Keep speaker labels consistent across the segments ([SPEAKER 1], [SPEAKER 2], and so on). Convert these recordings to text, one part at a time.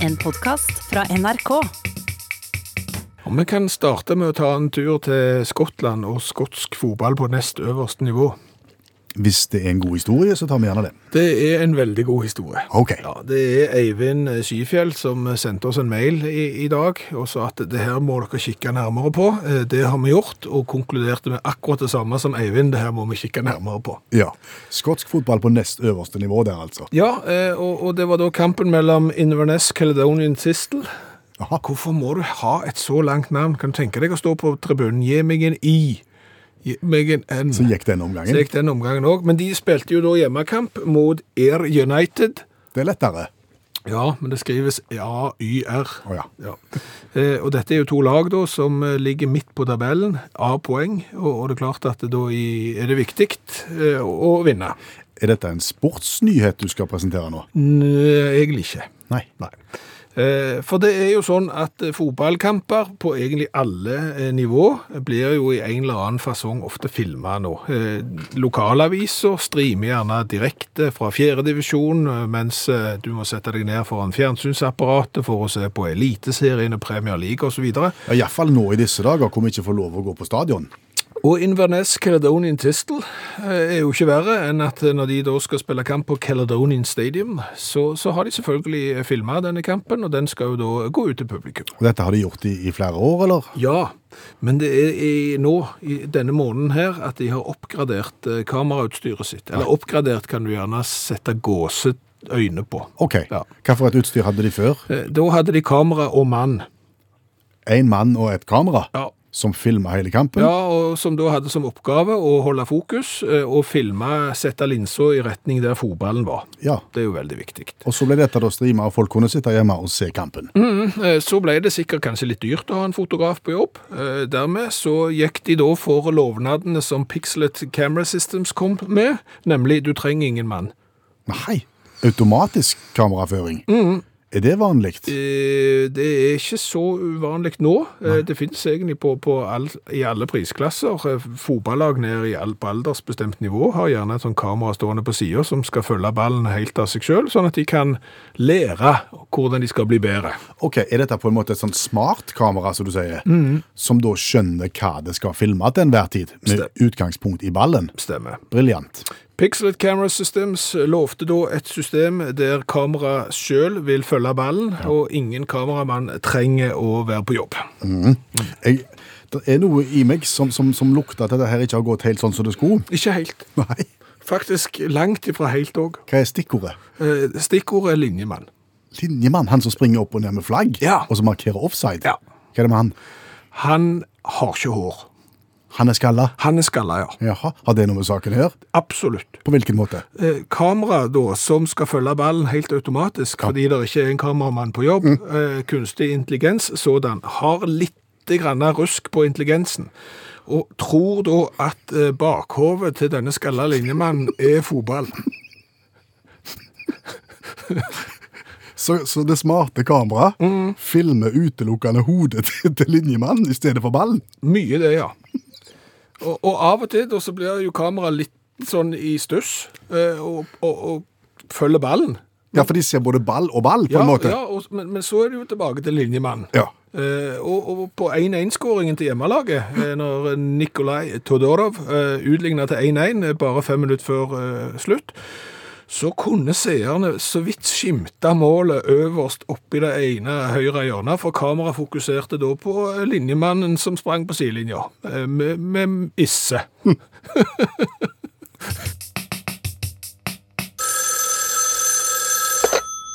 [SPEAKER 1] en podkast fra NRK.
[SPEAKER 2] Og Vi kan starte med å ta en tur til Skottland og skotsk fotball på nest øverste nivå.
[SPEAKER 3] Hvis det er en god historie, så tar vi gjerne det.
[SPEAKER 2] Det er en veldig god historie.
[SPEAKER 3] Ok.
[SPEAKER 2] Ja, Det er Eivind Skifjell som sendte oss en mail i, i dag og sa at det her må dere kikke nærmere på. Eh, Det har vi gjort, og konkluderte med akkurat det samme som Eivind. Det her må vi kikke nærmere på.
[SPEAKER 3] Ja. Skotsk fotball på nest øverste nivå der, altså.
[SPEAKER 2] Ja, eh, og, og det var da kampen mellom Inverness Caledonian Sistel.
[SPEAKER 3] Aha.
[SPEAKER 2] Hvorfor må du ha et så langt navn? Kan du tenke deg å stå på tribunen? Gi meg en I. Gi meg en N.
[SPEAKER 3] Så gikk denne
[SPEAKER 2] Så
[SPEAKER 3] omgangen.
[SPEAKER 2] gikk den omgangen òg. Men de spilte jo da hjemmekamp mot Air United.
[SPEAKER 3] Det er lettere.
[SPEAKER 2] Ja, men det skrives AYR.
[SPEAKER 3] Å ja.
[SPEAKER 2] Ja. Eh, og dette er jo to lag da som eh, ligger midt på tabellen, av poeng. Og, og det er klart at det da i, er det viktig eh, å, å vinne.
[SPEAKER 3] Er dette en sportsnyhet du skal presentere nå?
[SPEAKER 2] N egentlig ikke.
[SPEAKER 3] Nei.
[SPEAKER 2] Eh, For det er jo sånn at eh, fotballkamper på egentlig alle eh, nivå blir jo i en eller annen fasong ofte filma nå. Eh, Lokalaviser streamer gjerne direkte fra fjerdedivisjon, mens eh, du må sette deg ned foran fjernsynsapparatet for å se på Eliteserien og Premier League osv.
[SPEAKER 3] Ja, Iallfall nå i disse dager, hvor vi ikke får lov å gå på stadion.
[SPEAKER 2] Og Inverness Caledonian Tistel eh, er jo ikke verre enn at eh, når de da skal spille kamp på Caledonian Stadium, så, så har de selvfølgelig filma denne kampen, og den skal jo da gå ut til publikum.
[SPEAKER 3] Og Dette har de gjort i, i flere år, eller?
[SPEAKER 2] Ja, men det er i, nå, i denne måneden her, at de har oppgradert eh, kamerautstyret sitt. Eller oppgradert kan du gjerne sette gåseøyne på.
[SPEAKER 3] OK.
[SPEAKER 2] Ja.
[SPEAKER 3] Hva for et utstyr hadde de før?
[SPEAKER 2] Eh, Da hadde de kamera og mann.
[SPEAKER 3] Én mann og et kamera
[SPEAKER 2] Ja.
[SPEAKER 3] som filma hele kampen?
[SPEAKER 2] Ja, og som da hadde som oppgave å holde fokus eh, og filme, sette linsa i retning der fotballen var.
[SPEAKER 3] Ja.
[SPEAKER 2] Det er jo veldig viktig.
[SPEAKER 3] Og så ble dette da streama, og folk kunne sitte hjemme og se kampen.
[SPEAKER 2] Eh, Så ble det sikkert kanskje litt dyrt å ha en fotograf på jobb. Eh, Dermed så gikk de da for lovnadene som Pixlet Camera Systems kom med, nemlig du trenger ingen mann.
[SPEAKER 3] Nei. Automatisk kameraføring.
[SPEAKER 2] Mm.
[SPEAKER 3] Er det vanlig?
[SPEAKER 2] Eh, Det er ikke så uvanlig nå. Eh, Det finnes egentlig på, på all, i alle prisklasser. Eh, Fotballag nede i all, på aldersbestemt nivå har gjerne et sånt kamera stående på sida som skal følge ballen helt av seg sjøl, sånn at de kan lære hvordan de skal bli bedre.
[SPEAKER 3] Ok, Er dette på en måte et sånt smart kamera, som du sier, som da skjønner hva det skal filme til enhver tid, med
[SPEAKER 2] Stem.
[SPEAKER 3] utgangspunkt i ballen?
[SPEAKER 2] Stemmer.
[SPEAKER 3] Briljant.
[SPEAKER 2] Pixelet Camera Systems lovte da et system der kamera sjøl vil følge ballen, og ingen kameramann trenger å være på jobb.
[SPEAKER 3] Jeg, det er noe i meg som, som, som lukter at dette her ikke har gått helt sånn som det skulle.
[SPEAKER 2] Ikke helt.
[SPEAKER 3] Nei.
[SPEAKER 2] Faktisk langt ifra helt òg.
[SPEAKER 3] Hva er stikkordet?
[SPEAKER 2] Stikkordet er linjemann.
[SPEAKER 3] Linjemann, han som springer opp og ned med flagg,
[SPEAKER 2] Ja.
[SPEAKER 3] og som markerer offside.
[SPEAKER 2] Ja.
[SPEAKER 3] Hva er det med han?
[SPEAKER 2] Han har ikke hår.
[SPEAKER 3] Han er skalla.
[SPEAKER 2] Han er skalla, ja.
[SPEAKER 3] Jaha, har det noe med saken å gjøre?
[SPEAKER 2] Absolutt.
[SPEAKER 3] På hvilken måte?
[SPEAKER 2] Eh, kamera da, som skal følge ballen helt automatisk, fordi det ikke er en kameramann på jobb,
[SPEAKER 3] Mm.
[SPEAKER 2] eh, kunstig intelligens sådan, har litt grann rusk på intelligensen. Og tror da at eh, bakhovet til denne skalla linjemannen er fotball.
[SPEAKER 3] Så, så det smarte kameraet filmer utelukkende hodet til, til linjemannen i stedet for ballen?
[SPEAKER 2] Mye det, ja. Og, og av og til da, så blir jo kamera litt sånn i stuss, eh, og, og, og følger ballen.
[SPEAKER 3] Ja, for de ser både ball og ball, på
[SPEAKER 2] Ja,
[SPEAKER 3] en måte.
[SPEAKER 2] ja og, men, men så er det jo tilbake til linjemannen.
[SPEAKER 3] Ja.
[SPEAKER 2] Eh, og, og på 1-1-skåringen til hjemmelaget, eh, når Nikolai Todorov eh, utligna til 1-1 eh, bare fem minutter før eh, slutt, så kunne seerne så vidt skimte målet øverst oppi det ene høyre hjørnet, for kameraet fokuserte da på eh, linjemannen som sprang på sidelinja, eh, med, med isse.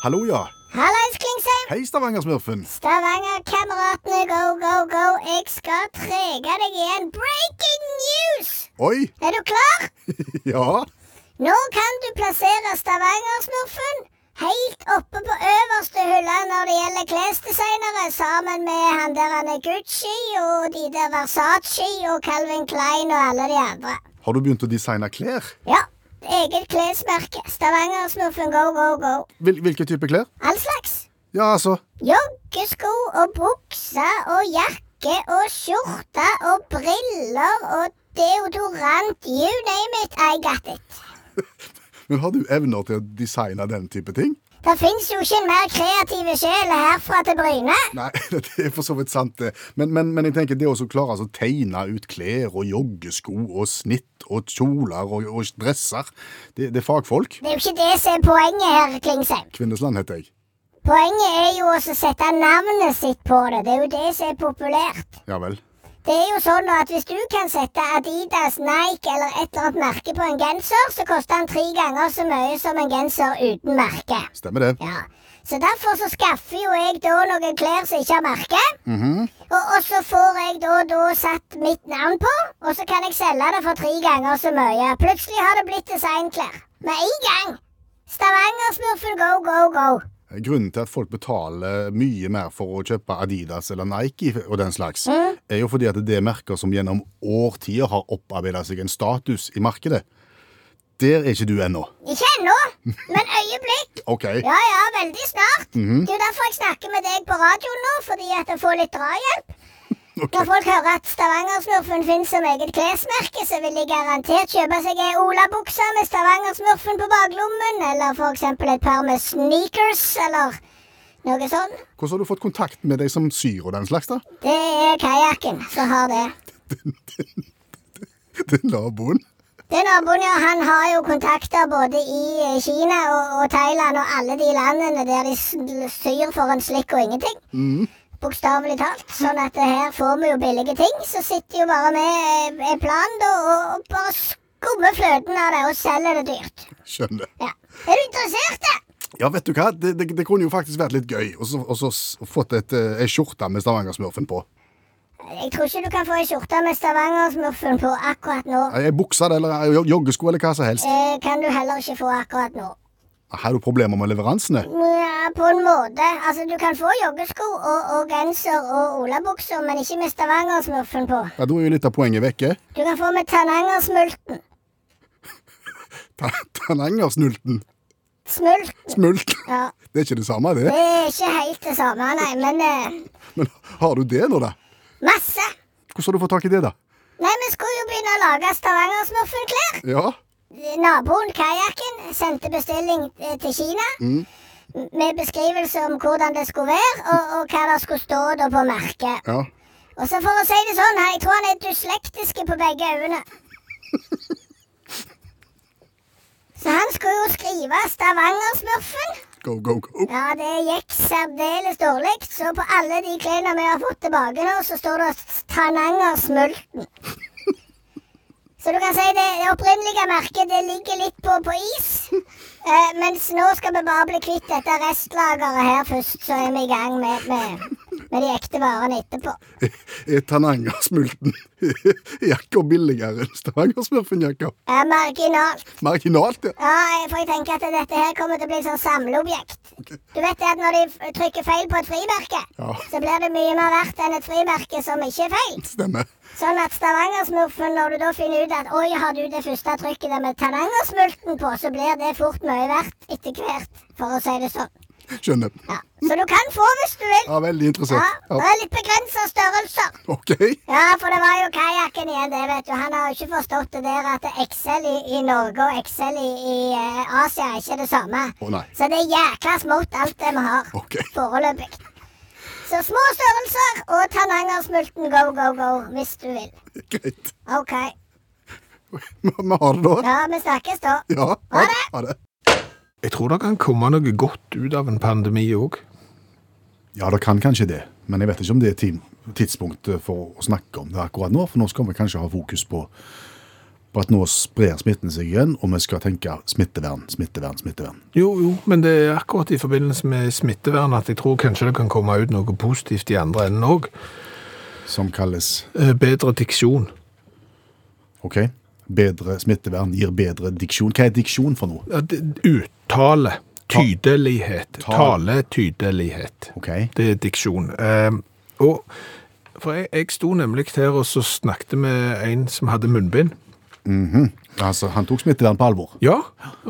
[SPEAKER 3] Hallo, ja.
[SPEAKER 4] Hallais, Klingsheim!
[SPEAKER 3] Hei, Stavanger-smurfen.
[SPEAKER 4] Stavanger-kameratene, go, go, go! Jeg skal trege deg igjen. Breaking news!
[SPEAKER 3] Oi,
[SPEAKER 4] Er du klar?
[SPEAKER 3] ja.
[SPEAKER 4] Nå kan du plassere Stavanger-smurfen helt oppe på øverste hylle når det gjelder klesdesignere, sammen med han der han er Gucci og de der Versace og Calvin Klein og alle de andre.
[SPEAKER 3] Har du begynt å designe klær?
[SPEAKER 4] Ja, eget klesmerke. Stavanger-smurfen, go, go, go!
[SPEAKER 3] Hvil, hvilke type klær?
[SPEAKER 4] All slags.
[SPEAKER 3] Ja, altså.
[SPEAKER 4] Joggesko og bukser og jakke og skjorte og briller og deodorant. You name it, I got it.
[SPEAKER 3] Men har du evner til å designe den type ting?
[SPEAKER 4] Det fins jo ikke en mer kreativ sjel herfra til Bryne.
[SPEAKER 3] Nei, det er for så vidt sant, det. Men, men, men jeg tenker det å så klare altså, å tegne ut klær og joggesko og snitt og kjoler og, og dresser, det, det er fagfolk.
[SPEAKER 4] Det er jo ikke det som er poenget her, Klingsheim.
[SPEAKER 3] Kvinnesland heter jeg.
[SPEAKER 4] Poenget er jo å sette navnet sitt på det. Det er jo det som er populært.
[SPEAKER 3] Ja vel.
[SPEAKER 4] Det er jo sånn at hvis du kan sette Adidas, Nike eller et eller annet merke på en genser, så koster den tre ganger så mye som en genser uten merke.
[SPEAKER 3] Stemmer det.
[SPEAKER 4] Ja. Så derfor så skaffer jo jeg da noen klær som ikke har merke. og, og så får jeg da, da satt mitt navn på, og så kan jeg selge det for tre ganger så mye. Plutselig har det blitt designklær. Med en gang! Stavangersmurfen go, go, go.
[SPEAKER 3] Grunnen til at folk betaler mye mer for å kjøpe Adidas eller Nike og den slags, er jo fordi at det er merker som gjennom årtier har opparbeida seg en status i markedet. Der er ikke du ennå.
[SPEAKER 4] Ikke ennå, men øyeblikk.
[SPEAKER 3] OK.
[SPEAKER 4] Ja ja, veldig snart. Det er jo derfor jeg snakker med deg på radioen nå, fordi at jeg får litt drahjelp.
[SPEAKER 3] ok.
[SPEAKER 4] Når folk hører at Stavangersmurfen finnes som eget klesmerke, så vil de garantert kjøpe seg ei olabukse med Stavangersmurfen på baklommen, eller for eksempel et par med sneakers, eller noe sånn.
[SPEAKER 3] Hvordan har du fått kontakt med de som syr og den slags, da?
[SPEAKER 4] Det er kajakken som har det.
[SPEAKER 3] Det er naboen.
[SPEAKER 4] Den naboen, ja, han har jo kontakter både i eh, Kina og, og Thailand og alle de landene der de s- syr for en slikk og ingenting. Bokstavelig talt. Sånn at eh, her får vi jo billige ting. Så sitter jo bare med eh, en plan da, og, og bare skummer fløten av det og selger det dyrt.
[SPEAKER 3] Skjønner.
[SPEAKER 4] Ja. Er du interessert, da?
[SPEAKER 3] Ja, vet du hva? Det, det, det kunne jo faktisk vært litt gøy å så- å så s- fått et, eh, ei skjorte med Stavanger-smurfen på.
[SPEAKER 4] Jeg tror ikke du kan få ei skjorte med Stavangersmurfen på akkurat nå.
[SPEAKER 3] Ei bukse eller ei jo- joggesko eller hva som helst.
[SPEAKER 4] Eh, kan du heller ikke få akkurat nå.
[SPEAKER 3] Har du problemer med leveransene?
[SPEAKER 4] Ja, på en måte. Altså, du kan få joggesko og, og genser og olabukser, men ikke med stavangersmurfen på.
[SPEAKER 3] Ja, Da er jo litt av poenget vekke.
[SPEAKER 4] Du kan få med tanangersmulten.
[SPEAKER 3] Ta- Tanangersnulten.
[SPEAKER 4] Smulten.
[SPEAKER 3] Smult.
[SPEAKER 4] Ja.
[SPEAKER 3] Det er ikke det samme,
[SPEAKER 4] Det
[SPEAKER 3] det.
[SPEAKER 4] er ikke helt det samme, nei, men eh,
[SPEAKER 3] Men har du det nå, da?
[SPEAKER 4] masse.
[SPEAKER 3] Hvordan har du fått tak i det, da?
[SPEAKER 4] Nei, vi skulle jo begynne å lage stavangersmurfenklær.
[SPEAKER 3] Ja,
[SPEAKER 4] Naboen, kajakken, sendte bestilling eh, til Kina. Med beskrivelse om hvordan det skulle være, og, og hva det skulle stå da på merket.
[SPEAKER 3] ja.
[SPEAKER 4] Og så for å si det sånn, jeg tror han er dyslektiske på begge øynene. Så han skulle jo skrive Stavangersmurfen.
[SPEAKER 3] Go, go, go.
[SPEAKER 4] Ja, det gikk særdeles dårlig, så på alle de klærne vi har fått tilbake nå, så står det Tanangersmulten. Så du kan si det, det opprinnelige merket det ligger litt på, på is. Eh, mens nå skal vi bare bli kvitt dette restlageret her først, så er vi i gang med, med, med de ekte varene etterpå.
[SPEAKER 3] Er Tanangersmulten jakka billigere enn Stavanger-smurfen-jakka?
[SPEAKER 4] Eh, marginalt.
[SPEAKER 3] Marginalt, ja.
[SPEAKER 4] Ja, jeg- for jeg tenker at dette her kommer til å bli et sånn samleobjekt.
[SPEAKER 3] Ok.
[SPEAKER 4] Du vet det at når de f- trykker feil på et frimerke,
[SPEAKER 3] Ja.
[SPEAKER 4] så blir det mye mer verdt enn et frimerke som ikke er feil.
[SPEAKER 3] Stemmer.
[SPEAKER 4] Sånn at Stavangersmurfen, når du da finner ut at oi, har du det første trykket der med Tanangersmulten på, så blir det fort mye verdt etter hvert, for å si det sånn.
[SPEAKER 3] Skjønner.
[SPEAKER 4] Ja. Så du kan få hvis du vil.
[SPEAKER 3] Ja, veldig
[SPEAKER 4] Ja,
[SPEAKER 3] interessert.
[SPEAKER 4] det
[SPEAKER 3] Ja.
[SPEAKER 4] er litt begrensa størrelser.
[SPEAKER 3] OK.
[SPEAKER 4] Ja, for det var jo kajakken igjen, det, vet du. Han har jo ikke forstått det der at Excel i, i Norge og Excel i, i eh, Asia er ikke det samme.
[SPEAKER 3] Å, nei.
[SPEAKER 4] Så det er jækla smått, alt det vi har.
[SPEAKER 3] Ok.
[SPEAKER 4] Foreløpig. Så små størrelser og Tanangersmulten go, go, go, hvis du vil.
[SPEAKER 3] Greit.
[SPEAKER 4] OK.
[SPEAKER 3] Vi vi har det da.
[SPEAKER 4] Ja, vi snakkes da.
[SPEAKER 3] Ja. Ha det. Ha det.
[SPEAKER 2] Jeg tror det kan komme noe godt ut av en pandemi òg.
[SPEAKER 3] Ja, det kan kanskje det, men jeg vet ikke om det er tim- tidspunktet for å snakke om det akkurat nå. For nå skal vi kanskje ha fokus på, på at nå sprer smitten seg igjen, og vi skal tenke smittevern, smittevern, smittevern.
[SPEAKER 2] Jo, jo, men det er akkurat i forbindelse med smittevern at jeg tror kanskje det kan komme ut noe positivt i andre enden òg.
[SPEAKER 3] Som kalles
[SPEAKER 2] Eh, Bedre diksjon.
[SPEAKER 3] OK, bedre smittevern gir bedre diksjon. Hva er diksjon for noe?
[SPEAKER 2] Ja, det- Uttale. Tydelighet. Taletydelighet.
[SPEAKER 3] OK,
[SPEAKER 2] Det er diksjon. Ehm, og for jeg, jeg sto nemlig her og så snakket med en som hadde munnbind.
[SPEAKER 3] altså han tok smittevern på alvor.
[SPEAKER 2] Ja,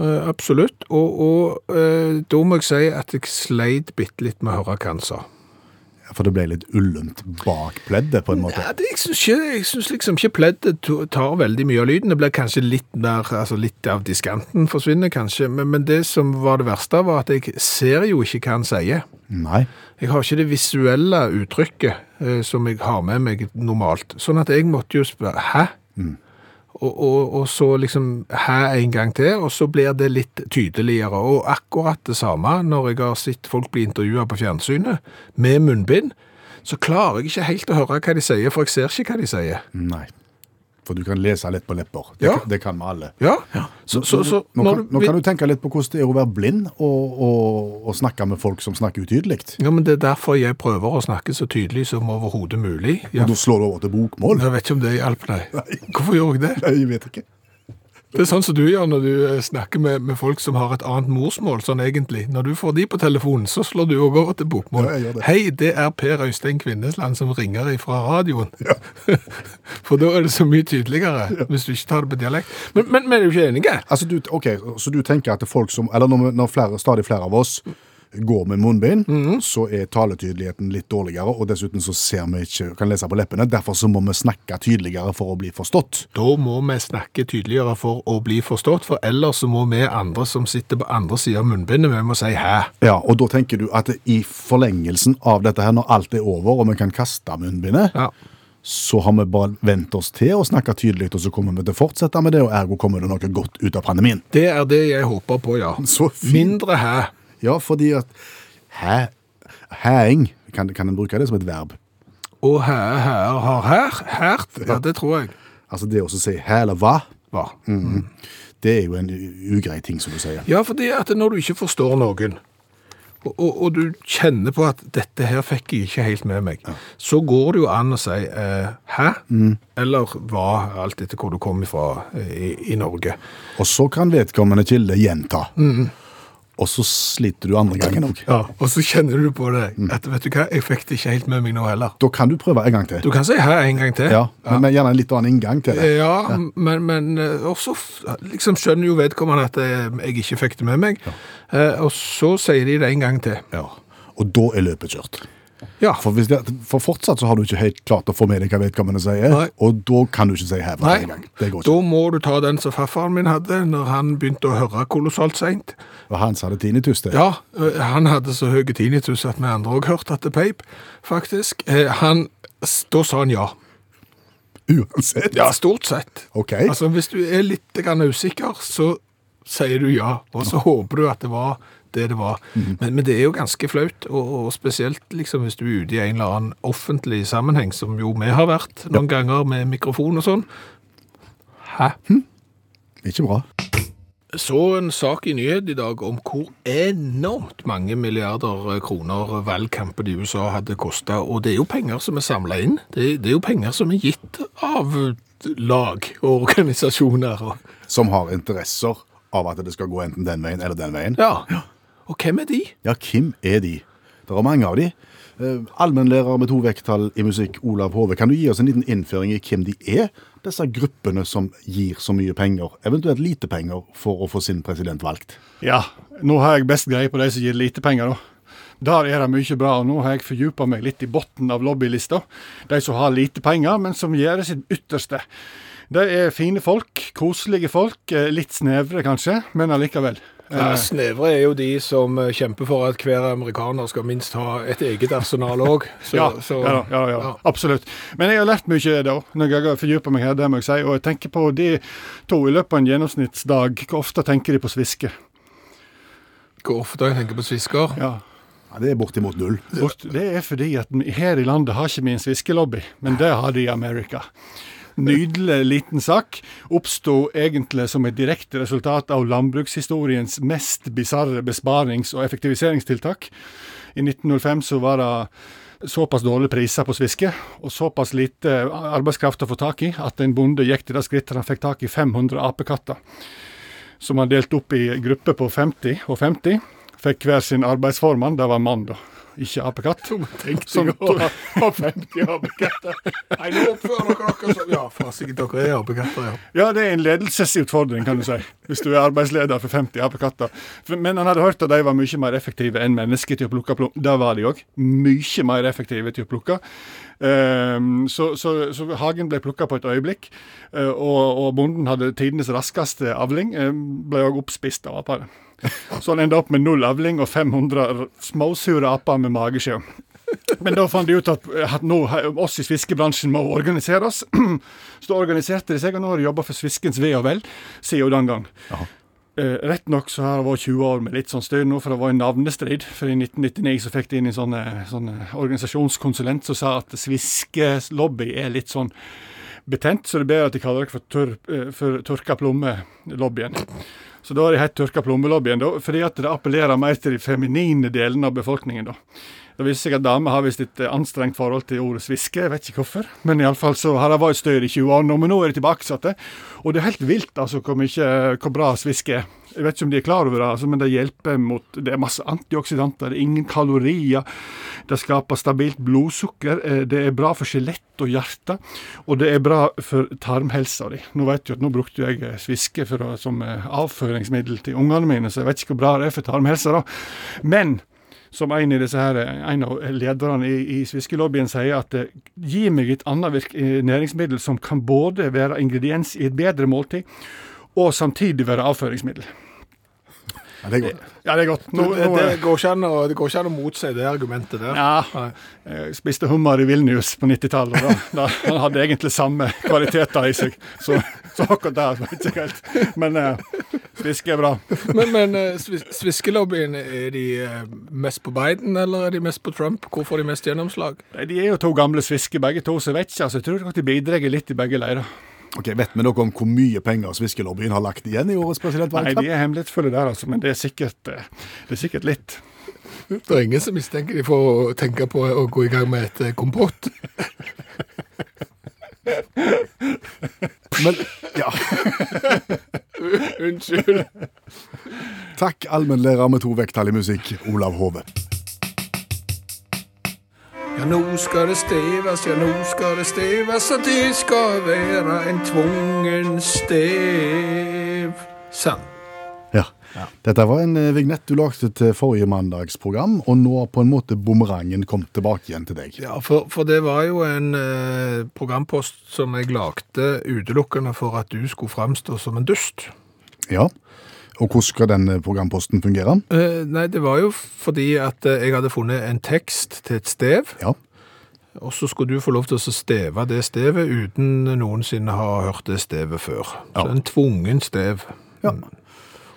[SPEAKER 2] eh, absolutt. Og, og eh, da må jeg si at jeg sleit bitte litt med å høre hva han sa.
[SPEAKER 3] For det ble litt ullent bak pleddet, på en måte.
[SPEAKER 2] Ja, det, jeg syns ikke- jeg syns liksom ikke pleddet to- tar veldig mye av lyden. Det blir kanskje litt mer altså Litt av diskanten forsvinner, kanskje. Men, men det som var det verste, var at jeg ser jo ikke hva han sier.
[SPEAKER 3] Nei.
[SPEAKER 2] Jeg har ikke det visuelle uttrykket eh, som jeg har med meg normalt. Sånn at jeg måtte jo spørre Hæ?
[SPEAKER 3] Mm.
[SPEAKER 2] Og, og, og så liksom Hæ en gang til, og så blir det litt tydeligere. Og akkurat det samme når jeg har sett folk bli intervjua på fjernsynet med munnbind. Så klarer jeg ikke helt å høre hva de sier, for jeg ser ikke hva de sier.
[SPEAKER 3] Nei. For du kan lese litt på lepper. Det,
[SPEAKER 2] Ja.
[SPEAKER 3] kan- det kan vi alle.
[SPEAKER 2] Ja, Så, så, så
[SPEAKER 3] nå,
[SPEAKER 2] når
[SPEAKER 3] kan, nå
[SPEAKER 2] vi-
[SPEAKER 3] kan du tenke litt på hvordan det er å være blind og, og, og snakke med folk som snakker utydelig.
[SPEAKER 2] Ja, men Det er derfor jeg prøver å snakke så tydelig som overhodet mulig. Ja.
[SPEAKER 3] Og da slår du over til bokmål.
[SPEAKER 2] Jeg vet ikke om det hjalp, nei. Hvorfor gjorde jeg det?
[SPEAKER 3] Nei, Jeg vet ikke.
[SPEAKER 2] Det er sånn som du gjør når du eh, snakker med, med folk som har et annet morsmål, sånn egentlig. Når du får de på telefonen, så slår du òg over til bokmål.
[SPEAKER 3] Ja, jeg gjør det.
[SPEAKER 2] Hei, det er Per Øystein Kvindesland som ringer ifra radioen. For da er det så mye tydeligere, hvis du ikke tar det på dialekt. Men, men, men er du ikke enige?
[SPEAKER 3] Altså, du, ok, Så du tenker at det er folk som Eller når, vi- når flere, stadig flere av oss går med munnbind,
[SPEAKER 2] Mhm.
[SPEAKER 3] så er taletydeligheten litt dårligere, og dessuten så ser vi ikke kan lese på leppene. Derfor så må vi snakke tydeligere for å bli forstått.
[SPEAKER 2] Da må vi snakke tydeligere for å bli forstått, for ellers så må vi andre som sitter på andre sida av munnbindet, vi må si hæ.
[SPEAKER 3] Ja, Og da tenker du at i forlengelsen av dette, her, når alt er over og vi kan kaste munnbindet,
[SPEAKER 2] Ja.
[SPEAKER 3] så har vi bare vent oss til å snakke tydelig, og så kommer vi til å fortsette med det, og ergo kommer det noe godt ut av pandemien.
[SPEAKER 2] Det er det jeg håper på, ja.
[SPEAKER 3] Så fint.
[SPEAKER 2] Mindre hæ.
[SPEAKER 3] Ja, fordi at hæ, hæing, kan, kan en bruke det som et verb?
[SPEAKER 2] Og hæ, hæ, har her, hært. Ja, det tror jeg.
[SPEAKER 3] Altså det å si hæ eller hva, Mm.
[SPEAKER 2] var.
[SPEAKER 3] det er jo en u- ugrei ting, som du sier.
[SPEAKER 2] Ja, fordi at når du ikke forstår noen, og, og, og du kjenner på at dette her fikk jeg ikke helt med meg, så går det jo an å si eh, hæ,
[SPEAKER 3] Mm.
[SPEAKER 2] eller hva, alt etter hvor du kom ifra eh, i, i Norge.
[SPEAKER 3] Og så kan vedkommende kilde gjenta. Og så sliter du andre gangen òg.
[SPEAKER 2] Mm. Ja, og så kjenner du på det
[SPEAKER 3] Mm.
[SPEAKER 2] at, vet du hva, jeg fikk det ikke helt med meg nå heller.
[SPEAKER 3] Da kan du prøve en gang til.
[SPEAKER 2] Du Eh. kan si hæ en gang til.
[SPEAKER 3] Ja, men, men gjerne en litt annen inngang til det.
[SPEAKER 2] Ja, men, men eh, også f- liksom skjønner jo vedkommende at eh, jeg ikke fikk det med meg, eh, og så sier de det en gang til.
[SPEAKER 3] Ja. Og da er løpet kjørt.
[SPEAKER 2] Ja,
[SPEAKER 3] For, hvis det, for fortsatt så har du ikke helt klart å få med deg hva vedkommende sier,
[SPEAKER 2] Nei.
[SPEAKER 3] og da kan du ikke si hæ hver
[SPEAKER 2] Nei,
[SPEAKER 3] gang. Det går
[SPEAKER 2] da
[SPEAKER 3] ikke.
[SPEAKER 2] må du ta den som farfaren min hadde når han begynte å høre kolossalt seint.
[SPEAKER 3] Og Hans hadde tinnitus, det.
[SPEAKER 2] Ja, ø, han hadde så høy tinnitus at vi andre òg hørte at det peip, faktisk. Eh, Han, s- da sa han ja.
[SPEAKER 3] Uansett.
[SPEAKER 2] Ja, stort sett.
[SPEAKER 3] Ok.
[SPEAKER 2] Altså, Hvis du er litt grann usikker, så sier du ja, og så håper du at det var det det var.
[SPEAKER 3] Mhm.
[SPEAKER 2] Men, men det er jo ganske flaut, og, og spesielt liksom hvis du er ute i en eller annen offentlig sammenheng, som jo vi har vært noen ganger med mikrofon og sånn. Hæ?
[SPEAKER 3] Ikke bra.
[SPEAKER 2] Så en sak i nyhet i dag om hvor enormt mange milliarder eh, kroner valgkampen i USA hadde kosta. Og det er jo penger som er samla inn. Det, det er jo penger som er gitt av eh, lag og organisasjoner. og-
[SPEAKER 3] Som har interesser av at det skal gå enten den veien eller den veien.
[SPEAKER 2] Ja. Og hvem er de?
[SPEAKER 3] Ja, hvem er de? Det er mange av de. Eh, Allmennlærer med to vekttall i musikk, Olav Hove. Kan du gi oss en liten innføring i hvem de er, disse gruppene som gir så mye penger, eventuelt lite penger, for å få sin president valgt?
[SPEAKER 5] Ja, nå har jeg best greie på de som gir lite penger, da. Der er det mye bra, og nå har jeg fordypa meg litt i bunnen av lobbylista. De som har lite penger, men som gjør sitt ytterste. De er fine folk, koselige folk. eh, Litt snevre, kanskje, men allikevel.
[SPEAKER 2] Ja, snevre er jo de som eh, kjemper for at hver amerikaner skal minst ha et eget arsenal òg.
[SPEAKER 5] ja, ja, da, ja, da, ja, da, absolutt. Men jeg har lært mye da, når jeg har fordypa meg her, det må jeg si. Og jeg tenker på de to i løpet av en gjennomsnittsdag. Hvor ofte tenker de på sviske?
[SPEAKER 2] Hvor ofte jeg tenker på svisker.
[SPEAKER 5] Ja.
[SPEAKER 3] Ja, det er bortimot null.
[SPEAKER 5] Bort, det er fordi at vi- her i landet har ikke vi en sviskelobby, men det har de i Amerika. Nydelig liten sak. Oppsto egentlig som et direkte resultat av landbrukshistoriens mest bisarre besparings- og effektiviseringstiltak. I 1905 så var det såpass dårlige priser på sviske og såpass lite arbeidskraft å få tak i at en bonde gikk til det skrittet han fikk tak i 500 apekatter som han delte opp i grupper på 50 og 50. Fikk hver sin arbeidsformann. Det var mann, da. Ikke apekatt. Som tok-
[SPEAKER 2] ha 50 apekatter. Nei, nå oppfører dere dere som Ja, fasike, dere er apekatter, ja.
[SPEAKER 5] Ja, det er en ledelsesutfordring, kan du si, hvis du er arbeidsleder for 50 apekatter. For- Men han hadde hørt at de var mye mer effektive enn mennesker til å plukke plom. Det var de òg. Mye mer effektive til å plukke. Ehm, så, så, så hagen ble plukka på et øyeblikk, eh, og, og bonden hadde tidenes raskeste avling. eh, Ble òg oppspist av apene. Så han enda opp med null avling og 500 r- småsure aper med mageskjell. Men da fant de ut at, at nå, oss i fiskebransjen må organisere oss. Så da organiserte de seg, og nå har de jobba for Sviskens ve og vel siden den gang. Eh, rett nok så har det vært 20 år med litt sånn styr nå, for det var en navnestrid. For i 1999 så fikk de inn en sånn eh, sånn, eh, organisasjonskonsulent som sa at Sviskes lobby er litt sånn betent, så det er bedre at de kaller dere for, tør, eh, for tørka plomme-lobbyen. Så da har de hett tørka plomme-lobbyen, da, fordi at det appellerer mer til de feminine delene av befolkningen, da. Det viser seg at damer har visst et eh, anstrengt forhold til ordet sviske, jeg vet ikke hvorfor. Men iallfall så har det vært støyr i 20 år nå, men nå er det tilbake satt det. Og det er helt vilt altså hvor, mye, hvor bra sviske er. Jeg vet ikke om de er klar over det, altså, men det hjelper mot Det er masse antioksidanter, det er ingen kalorier. Det skaper stabilt blodsukker. eh, Det er bra for skjelett og hjerte. Og det er bra for tarmhelsa di. Nå vet du at nå brukte jo jeg eh, sviske for å, som eh, avføringsmiddel til ungene mine, så jeg vet ikke hvor bra det er for tarmhelsa, da. Men som en, i disse her, en av lederne i, i sviskelobbyen sier at eh, gi meg et annet virk, eh, næringsmiddel som kan både være ingrediens i et bedre måltid, og samtidig være avføringsmiddel.
[SPEAKER 3] Ja, det er godt.
[SPEAKER 5] Ja, det er godt. Nå,
[SPEAKER 2] det,
[SPEAKER 5] nå,
[SPEAKER 2] det, går ikke an å, det går ikke an å motsi det argumentet der.
[SPEAKER 5] ja, jeg spiste hummer i Vilnius på 90-tallet, og da, da han hadde egentlig samme kvaliteter i seg. Så, så akkurat der vet jeg ikke helt. Men eh, sviske er bra.
[SPEAKER 2] Men, men eh, svis- sviskelobbyen, er de eh, mest på Biden, eller er de mest på Trump? Hvor får de mest gjennomslag?
[SPEAKER 5] Nei, De er jo to gamle svisker begge to, så jeg vet ikke. altså, Jeg tror nok de bidrar litt i begge leirer.
[SPEAKER 3] Ok, Vet vi noe om hvor mye penger sviskelobbyen har lagt igjen i årets
[SPEAKER 5] Nei,
[SPEAKER 3] presidentvalgkamp?
[SPEAKER 5] de er hemmelighetsfulle der, altså, men det er sikkert, eh, det er sikkert litt.
[SPEAKER 6] Det er ingen som mistenker de for å tenke på å gå i gang med et eh, kompott.
[SPEAKER 3] Men, ja.
[SPEAKER 2] Unnskyld.
[SPEAKER 3] Takk, allmennlærer med to vekttall i musikk, Olav Hove.
[SPEAKER 2] Ja, nå skal det steves, ja, nå skal det steves, og det skal være en tvungen stev. Sann.
[SPEAKER 3] Ja. Dette var en eh, vignett du lagde til forrige mandagsprogram, og nå har på en måte bumerangen kommet tilbake igjen til deg.
[SPEAKER 2] Ja, for, for det var jo en eh, programpost som jeg lagde utelukkende for at du skulle framstå som en dust.
[SPEAKER 3] Ja. Og hvordan skal den eh, programposten fungere?
[SPEAKER 2] Eh, nei, det var jo fordi at eh, jeg hadde funnet en tekst til et stev,
[SPEAKER 3] Ja.
[SPEAKER 2] og så skulle du få lov til å steve det stevet uten noensinne ha hørt det stevet før. Så
[SPEAKER 3] Ja.
[SPEAKER 2] en tvungen stev.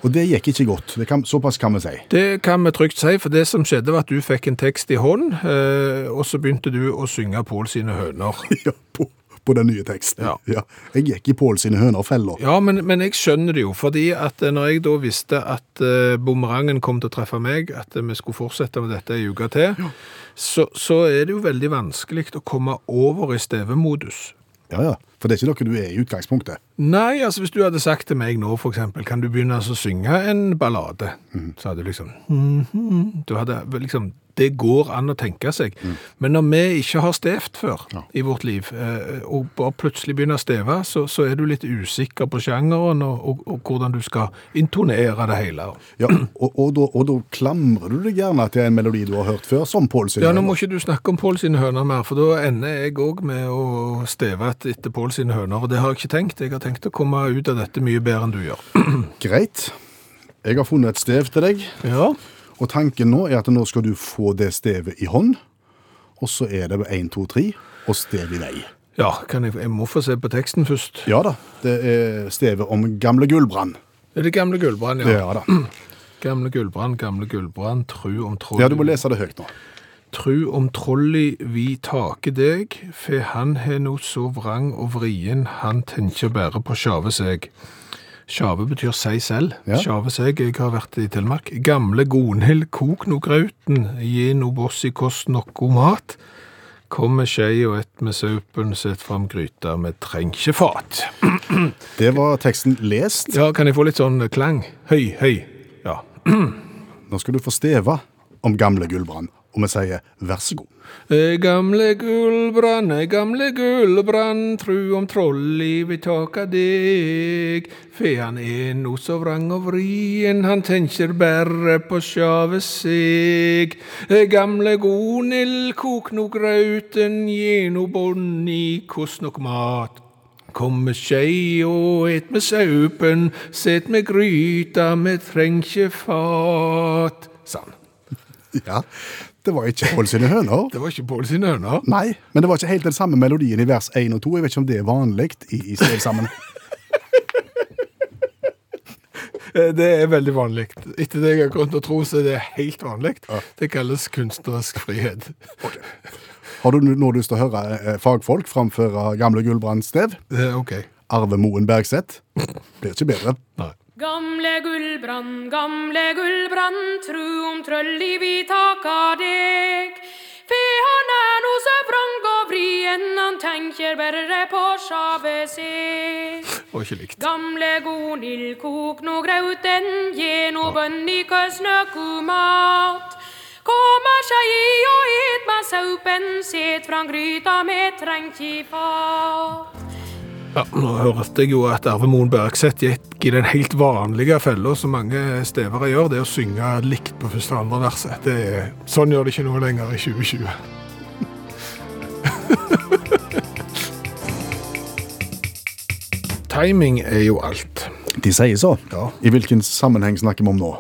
[SPEAKER 3] Og det gikk ikke godt. Det kan, såpass kan vi si.
[SPEAKER 2] Det kan vi trygt si, for det som skjedde var at du fikk en tekst i hånd, eh, og så begynte du å synge Pål sine høner.
[SPEAKER 3] Ja, på, på den nye teksten.
[SPEAKER 2] Ja.
[SPEAKER 3] Jeg gikk i Pål sine hønerfeller.
[SPEAKER 2] Ja, men, men jeg skjønner det jo, fordi at eh, når jeg da visste at eh, bumerangen kom til å treffe meg, at eh, vi skulle fortsette med dette ei uke til, så, så er det jo veldig vanskelig å komme over i stevemodus.
[SPEAKER 3] Ja, ja. For det er ikke noe du er i utgangspunktet.
[SPEAKER 2] Nei, altså hvis du hadde sagt til meg nå for eksempel, kan du begynne altså å synge en ballade? Så hadde du liksom, mhm, du hadde vel liksom, det går an å tenke seg. Men når vi ikke har stevt før i vårt liv, eh, og bare plutselig begynner å steve, så, så er du litt usikker på sjangeren og, og, og hvordan du skal intonere det hele.
[SPEAKER 3] Ja, og, og, da, og da klamrer du deg gjerne til en melodi du har hørt før, som Pål sine
[SPEAKER 2] Ja, nå må
[SPEAKER 3] høner.
[SPEAKER 2] ikke du snakke om Pål sine høner mer, for da ender jeg òg med å steve et- etter Pål sine høner, og det har jeg ikke tenkt. Jeg har tenkt å komme ut av dette mye bedre enn du gjør.
[SPEAKER 3] Greit. Jeg har funnet et stev til deg,
[SPEAKER 2] Ja.
[SPEAKER 3] og tanken nå er at nå skal du få det stevet i hånd, og så er det 1, 2, 3, og stev i vei.
[SPEAKER 2] Ja, kan jeg, jeg må få se på teksten først.
[SPEAKER 3] Ja da, det er stevet om gamle Gullbrand.
[SPEAKER 2] Er det gamle Gullbrand, ja?
[SPEAKER 3] Ja da.
[SPEAKER 2] Gamle Gullbrand, gamle Gullbrand, tru om troll.
[SPEAKER 3] Ja, du må lese det høyt nå.
[SPEAKER 2] Tru om trolli vi take deg, fe han he no så vrang og vrien, han tenker bare på sjave seg. Sjave betyr seg selv.
[SPEAKER 3] Ja.
[SPEAKER 2] Sjave seg, jeg har vært i Telemark. Gamle Gonhild, kok no grauten, gi no boss i kost nokko mat. Kom med skei og ett med saupen, sett fram gryta, vi treng ikke fat.
[SPEAKER 3] Det var teksten lest.
[SPEAKER 2] Ja, kan jeg få litt sånn klang? Høy, høy. Ja.
[SPEAKER 3] Nå skal du få steve om gamle Gullbrand, og vi sier vær så god.
[SPEAKER 2] Eh, Gamle Gullbrand, eh, gamle Gullbrand, tru om trollet vil taka deg. Fean er no så vrang og vrien, han tenker berre på sjave seg. Eh, Gamle Gonhild, kok no grauten, gi no bonni, kost nok mat. Kom med skei og et med saupen, set med gryta, me treng'kje fat. Sann.
[SPEAKER 3] Ja, Det var ikke Pål sine høner.
[SPEAKER 2] Det var ikke Pål sine høner.
[SPEAKER 3] Nei, men det var ikke helt den samme melodien i vers 1 og 2. Jeg vet ikke om det er vanlig i, i strevsammenheng.
[SPEAKER 6] Eh, Det er veldig vanlig. Etter det jeg har grunn til å tro, så er det helt vanlig. Det kalles kunstnerisk frihet.
[SPEAKER 3] Har du nå lyst til å høre eh, fagfolk framføre gamle Gullbrand-stev?
[SPEAKER 6] Eh, OK.
[SPEAKER 3] Arve Moen Bergseth? Blir ikke bedre.
[SPEAKER 7] Gamle Gullbrand, gamle Gullbrand, tru om trølli vi taka deg. Fe han er no så vrang og vrien, han tenker berre på sjave seg.
[SPEAKER 6] Og ikke likt.
[SPEAKER 7] Gamle Gonhild, kok no grauten, gi no bønnika snøku mat. Kom av skei og et med saupen, set frang gryta med trengt i fat.
[SPEAKER 2] Ja, nå hørte jeg jo at Arve Moen Bergseth gikk i den helt vanlige fella som mange stevere gjør, det å synge likt på første og andre verset. Det er,
[SPEAKER 6] Sånn gjør det ikke noe lenger i 2020.
[SPEAKER 2] timing er jo alt.
[SPEAKER 3] De sier så. I hvilken sammenheng snakker vi om nå?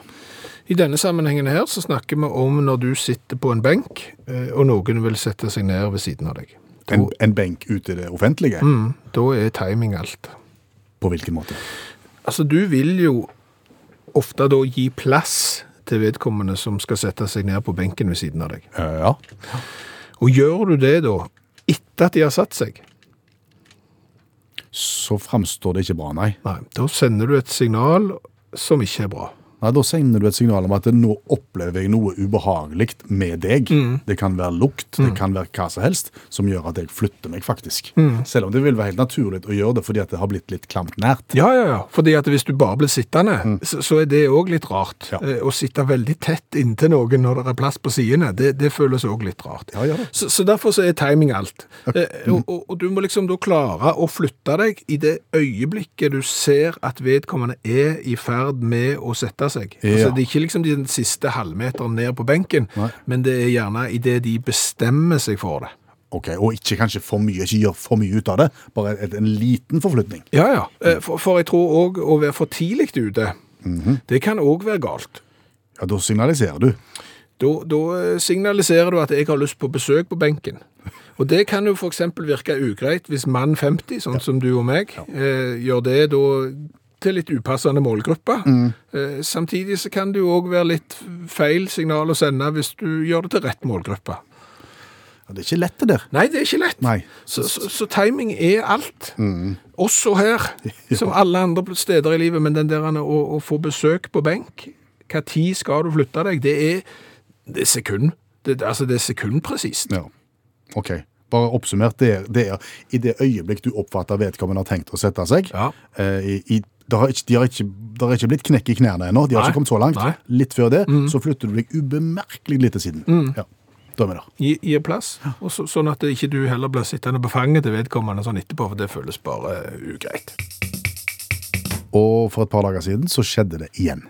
[SPEAKER 2] I denne sammenhengen her så snakker vi om når du sitter på en benk, eh, og noen vil sette seg ned ved siden av deg. Da,
[SPEAKER 3] En, en benk ute i det offentlige?
[SPEAKER 2] mm, da er timing alt.
[SPEAKER 3] På hvilken måte?
[SPEAKER 2] Altså, du vil jo ofte da gi plass til vedkommende som skal sette seg ned på benken ved siden av deg.
[SPEAKER 3] Eh, Ja.
[SPEAKER 2] Og gjør du det da, etter at de har satt seg,
[SPEAKER 3] Så framstår det ikke bra, nei.
[SPEAKER 2] Nei, da sender du et signal som ikke er bra.
[SPEAKER 3] Nei, Da sender du et signal om at nå opplever jeg noe ubehagelig med deg. Det kan være lukt, det kan være hva som helst, som gjør at jeg flytter meg, faktisk. Selv om det vil være helt naturlig å gjøre det fordi at det har blitt litt klamt nært.
[SPEAKER 2] Ja, ja, ja. Fordi at hvis du bare blir sittende, så, så er det òg litt rart.
[SPEAKER 3] Mm. Ja.
[SPEAKER 2] Eh, Å sitte veldig tett inntil noen når det er plass på sidene, det, det føles òg litt rart.
[SPEAKER 3] Ja, Mm. ja da.
[SPEAKER 2] Så, så derfor så er timing alt. Eh, og, og, og du må liksom da klare å flytte deg i det øyeblikket du ser at vedkommende er i ferd med å sette seg.
[SPEAKER 3] Ja.
[SPEAKER 2] Altså, det er ikke liksom den siste halvmeteren ned på benken,
[SPEAKER 3] Nei.
[SPEAKER 2] men det er gjerne idet de bestemmer seg for det.
[SPEAKER 3] Ok, Og ikke kanskje for mye, ikke gjør for mye ut av det. Bare et, en liten forflytning.
[SPEAKER 2] Ja, ja. Eh, For, for jeg tror òg å være for tidlig ute,
[SPEAKER 3] Mhm.
[SPEAKER 2] det kan òg være galt.
[SPEAKER 3] Ja, Da signaliserer du.
[SPEAKER 2] Da, da eh, signaliserer du at jeg har lyst på besøk på benken. Og det kan jo f.eks. virke ugreit hvis mann 50, sånn som du og meg, eh, gjør det da til litt upassende målgrupper. Eh, samtidig så kan det jo òg være litt feil signal å sende hvis du gjør det til rett målgruppe.
[SPEAKER 3] Ja, Det er ikke lett, det der.
[SPEAKER 2] Nei, det er ikke lett.
[SPEAKER 3] Nei.
[SPEAKER 2] Så, så, så timing er alt. Også her, som alle andre steder i livet. Men den der å, å få besøk på benk, hva tid skal du flytte deg, det er, det er sekund. Det, altså, det er sekundpresist.
[SPEAKER 3] Ja. Ok. Bare oppsummert, det er, det er i det øyeblikk du oppfatter vedkommende har tenkt å sette seg
[SPEAKER 2] Ja.
[SPEAKER 3] eh, i, i, det, har ikke, de har ikke, det har ikke blitt knekk i knærne ennå, de har
[SPEAKER 2] Nei.
[SPEAKER 3] ikke kommet så langt.
[SPEAKER 2] Nei. Mm.
[SPEAKER 3] Litt før det, så flytter du deg ubemerkelig lite siden. Ja. Da er vi der.
[SPEAKER 2] Gi, gi plass, og så, sånn at ikke du heller blir sittende på fanget til vedkommende sånn etterpå, for det føles bare eh, ugreit.
[SPEAKER 3] Og for et par dager siden så skjedde det igjen.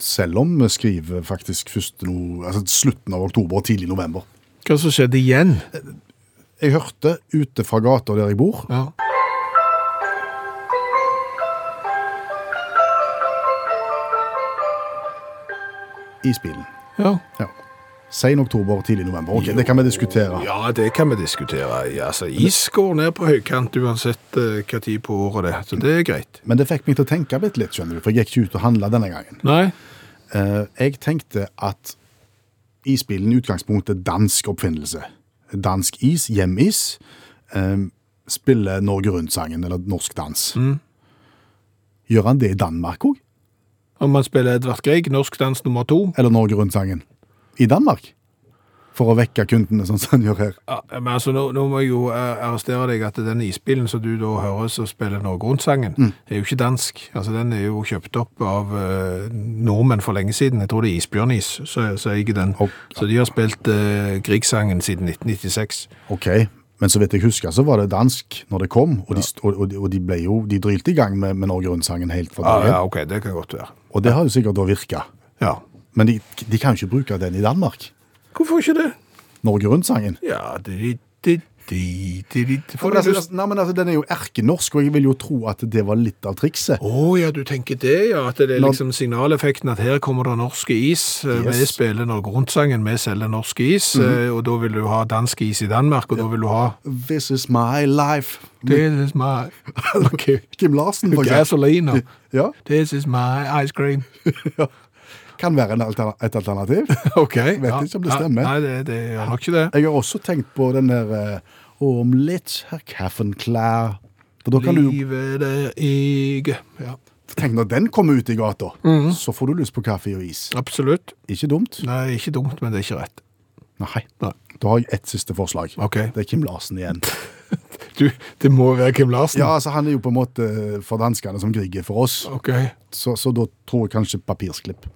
[SPEAKER 3] Selv om vi skriver faktisk først no, altså slutten av oktober og tidlig november.
[SPEAKER 2] Hva som skjedde igjen?
[SPEAKER 3] Jeg hørte ute fra gata der jeg bor,
[SPEAKER 2] Ja.
[SPEAKER 3] isbilen.
[SPEAKER 2] Ja.
[SPEAKER 3] Ja. Sen oktober, tidlig november. Ok, Det kan vi diskutere.
[SPEAKER 2] Ja, det kan vi diskutere. Altså, is går ned på høykant uansett eh, hva tid på året det er, så det er greit.
[SPEAKER 3] Men det fikk meg til å tenke bitte litt, skjønner du, for jeg gikk ikke ut og handla denne gangen.
[SPEAKER 2] Nei?
[SPEAKER 3] Eh, jeg tenkte at isbilen i utgangspunktet er dansk oppfinnelse. Dansk is, hjemis, eh, spiller Norge Rundt-sangen, eller norsk dans. Gjør han det i Danmark òg?
[SPEAKER 2] Om man spiller Edvard Grieg, norsk dans nummer to.
[SPEAKER 3] Eller Norge Rundt-sangen? I Danmark? for å vekke kundene, sånn som han gjør her.
[SPEAKER 2] Ja, men altså, nå, nå må jeg jo eh, arrestere deg at den isbilen som du da hører som spiller Norge Rundt-sangen, er jo ikke dansk. Altså, den er jo kjøpt opp av eh, nordmenn for lenge siden. Jeg tror det er Isbjørnis som som eier den.
[SPEAKER 3] Ok.
[SPEAKER 2] Så de har spilt eh, Grieg-sangen siden 1996.
[SPEAKER 3] Ok, men så vidt jeg husker, så var det dansk når det kom, og, de, st- og, og, de- og de ble jo, de drylte i gang med, med Norge Rundt-sangen helt fra
[SPEAKER 2] Ah, Ja,
[SPEAKER 3] dagen.
[SPEAKER 2] ja, ok, det kan godt være.
[SPEAKER 3] Og det har jo sikkert da virka.
[SPEAKER 2] Ja.
[SPEAKER 3] Men de, de kan jo ikke bruke den i Danmark.
[SPEAKER 2] Hvorfor ikke det?
[SPEAKER 3] Norge Rundt-sangen.
[SPEAKER 2] Ja, di, di, di, di, di. Får
[SPEAKER 3] Men
[SPEAKER 2] du
[SPEAKER 3] altså,
[SPEAKER 2] lyst?
[SPEAKER 3] nei, men altså, den er jo erkenorsk, og jeg vil jo tro at det var litt av trikset.
[SPEAKER 2] Å ja, du tenker det, ja. At det er
[SPEAKER 3] Når-
[SPEAKER 2] liksom signaleffekten at her kommer det norske is. eh, Vi
[SPEAKER 3] Yes. Mhm.
[SPEAKER 2] spiller Norge Rundt-sangen, vi selger norsk is. eh, Og da vil du ha dansk is i Danmark, og da vil du ha
[SPEAKER 3] This is my life.
[SPEAKER 2] This is my okay.
[SPEAKER 3] Kim Larsen, for eksempel.
[SPEAKER 2] gasolina.
[SPEAKER 3] Ja,
[SPEAKER 2] This is my ice cream.
[SPEAKER 3] kan være en alter- et alternativ.
[SPEAKER 2] OK.
[SPEAKER 3] Vet ikke om det stemmer.
[SPEAKER 2] Nei, det, det gjør nok ikke det.
[SPEAKER 3] Jeg har også tenkt på den der eh, Om litt her kaffen klær. For da Eh, kan du
[SPEAKER 2] Livet er ikke Ja,
[SPEAKER 3] Tenk når den kommer ut i gata,
[SPEAKER 2] Mhm.
[SPEAKER 3] så får du lyst på kaffe og is.
[SPEAKER 2] absolutt.
[SPEAKER 3] Ikke dumt?
[SPEAKER 2] Nei, ikke dumt, men det er ikke rett.
[SPEAKER 3] Nei.
[SPEAKER 2] Nei.
[SPEAKER 3] Da har jeg ett siste forslag.
[SPEAKER 2] Ok.
[SPEAKER 3] Det er Kim Larsen igjen.
[SPEAKER 2] Du, det må være Kim Larsen.
[SPEAKER 3] Ja, altså Han er jo på en måte for danskene som Grieg er for oss,
[SPEAKER 2] OK.
[SPEAKER 3] så, så da tror jeg kanskje papirsklipp.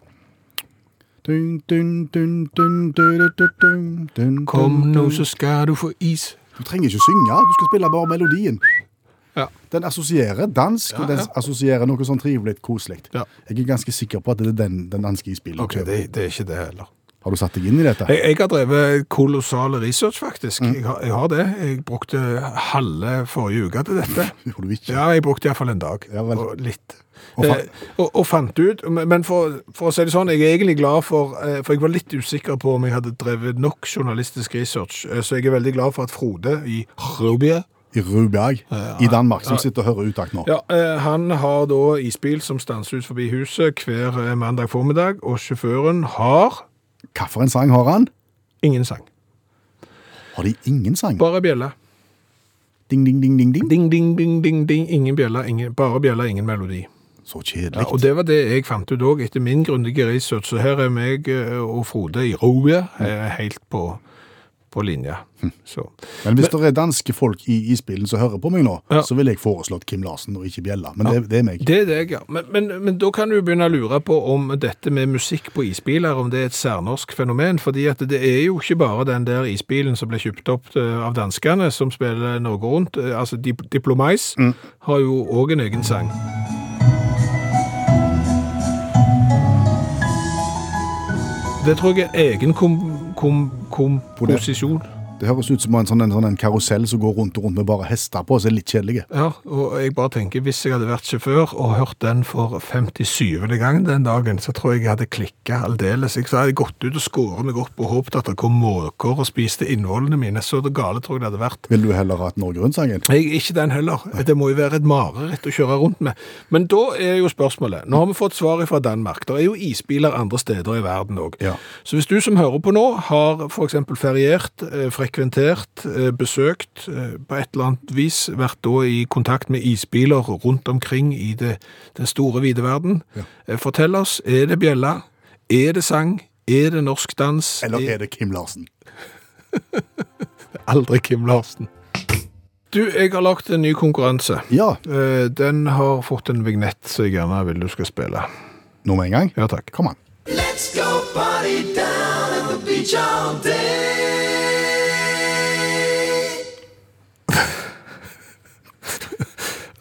[SPEAKER 3] Dun, dun, dun, dun, dun, dun, dun, dun,
[SPEAKER 2] Kom
[SPEAKER 3] dun,
[SPEAKER 2] nå,
[SPEAKER 3] dun.
[SPEAKER 2] så skal du få is.
[SPEAKER 3] Du trenger ikke synge, du skal spille bare melodien.
[SPEAKER 2] Ja.
[SPEAKER 3] Den assosierer dansk, og den
[SPEAKER 2] ja.
[SPEAKER 3] assosierer noe sånn trivelig, koselig.
[SPEAKER 2] Ja.
[SPEAKER 3] Jeg er ganske sikker på at det er den, den danske isbilen.
[SPEAKER 2] OK, det, det er ikke det heller.
[SPEAKER 3] Har du satt deg inn i dette?
[SPEAKER 2] Jeg, jeg har drevet kolossal research, faktisk. Jeg, har, jeg har det. Jeg brukte halve forrige uke til dette.
[SPEAKER 3] Gjorde du ikke?
[SPEAKER 2] Ja, jeg brukte iallfall en dag.
[SPEAKER 3] Ja vel.
[SPEAKER 2] Og litt.
[SPEAKER 3] Og
[SPEAKER 2] Og,
[SPEAKER 3] fa-
[SPEAKER 2] eh, og, og fant ut Men men for, for å si det sånn, jeg er egentlig glad for eh, For jeg var litt usikker på om jeg hadde drevet nok journalistisk research, eh, så jeg er veldig glad for at Frode i Rubia
[SPEAKER 3] I Ruberg i Danmark, som sitter og hører utakt nå.
[SPEAKER 2] ja, eh, Han har da isbil som stanser ut forbi huset hver eh, mandag formiddag, og sjåføren har
[SPEAKER 3] Hva for en sang har han?
[SPEAKER 2] ingen sang.
[SPEAKER 3] Har de ingen sang?
[SPEAKER 2] Bare bjelle.
[SPEAKER 3] Ding, ding, ding, ding, ding.
[SPEAKER 2] Ding, ding, ding, ding, ding. Ingen bjelle, ingen, bare bjelle, ingen melodi.
[SPEAKER 3] Så
[SPEAKER 2] Ja,
[SPEAKER 3] kjedelig.
[SPEAKER 2] og det var det jeg fant ut òg, etter min grundige research. Så her er meg eh, og Frode i roet eh, helt på, på linja. Så.
[SPEAKER 3] Men hvis det er danske folk i isbilen som hører på meg nå,
[SPEAKER 2] Ja.
[SPEAKER 3] så ville jeg foreslått Kim Larsen og ikke Bjella. Men det, det er meg.
[SPEAKER 2] Det er deg, ja. Men, men, men da kan du begynne å lure på om dette med musikk på isbiler, om det er et særnorsk fenomen. fordi at det er jo ikke bare den der isbilen som ble kjøpt opp eh, av danskene, som spiller Norge Rundt. Eh, Altså Dip Diplomais har jo òg en egen sang. Det tror jeg er en egen kom, kom, komposisjon.
[SPEAKER 3] Det høres ut som en sånn, en sånn en karusell som går rundt og rundt med bare hester på, så er det litt kjedelige.
[SPEAKER 2] Ja, og jeg bare tenker, hvis jeg hadde vært sjåfør og hørt den for 57. gang den dagen, så tror jeg jeg hadde klikket aldeles. Jeg så hadde jeg gått ut og skåret meg opp og håpet at det kom måker og spiste innvollene mine, så det gale tror jeg det hadde vært.
[SPEAKER 3] Vil du heller ha et Norge Rundt-sangen?
[SPEAKER 2] Jeg, ikke den heller. Det må jo være et mareritt å kjøre rundt med. Men da er jo spørsmålet, nå har vi fått svar fra Danmark, det er jo isbiler andre steder i verden også.
[SPEAKER 3] Ja.
[SPEAKER 2] Så hvis du som hører på nå har for eksempel feriert, eh, frekventert, eh, besøkt, eh, på et eller annet vis vært da i kontakt med isbiler rundt omkring i det, den store vide verden, eh, fortell oss, er det bjella? Er det sang? Er det norsk dans?
[SPEAKER 3] Eller er det Kim Larsen?
[SPEAKER 2] aldri Kim Larsen? Du, jeg har lagt en ny konkurranse.
[SPEAKER 3] Ja,
[SPEAKER 2] Eh, Den har fått en vignett som jeg gjerne vil du skal spille.
[SPEAKER 3] nå med en gang.
[SPEAKER 2] Ja, takk.
[SPEAKER 3] Kom an.
[SPEAKER 8] Let's go party down at the beach all day.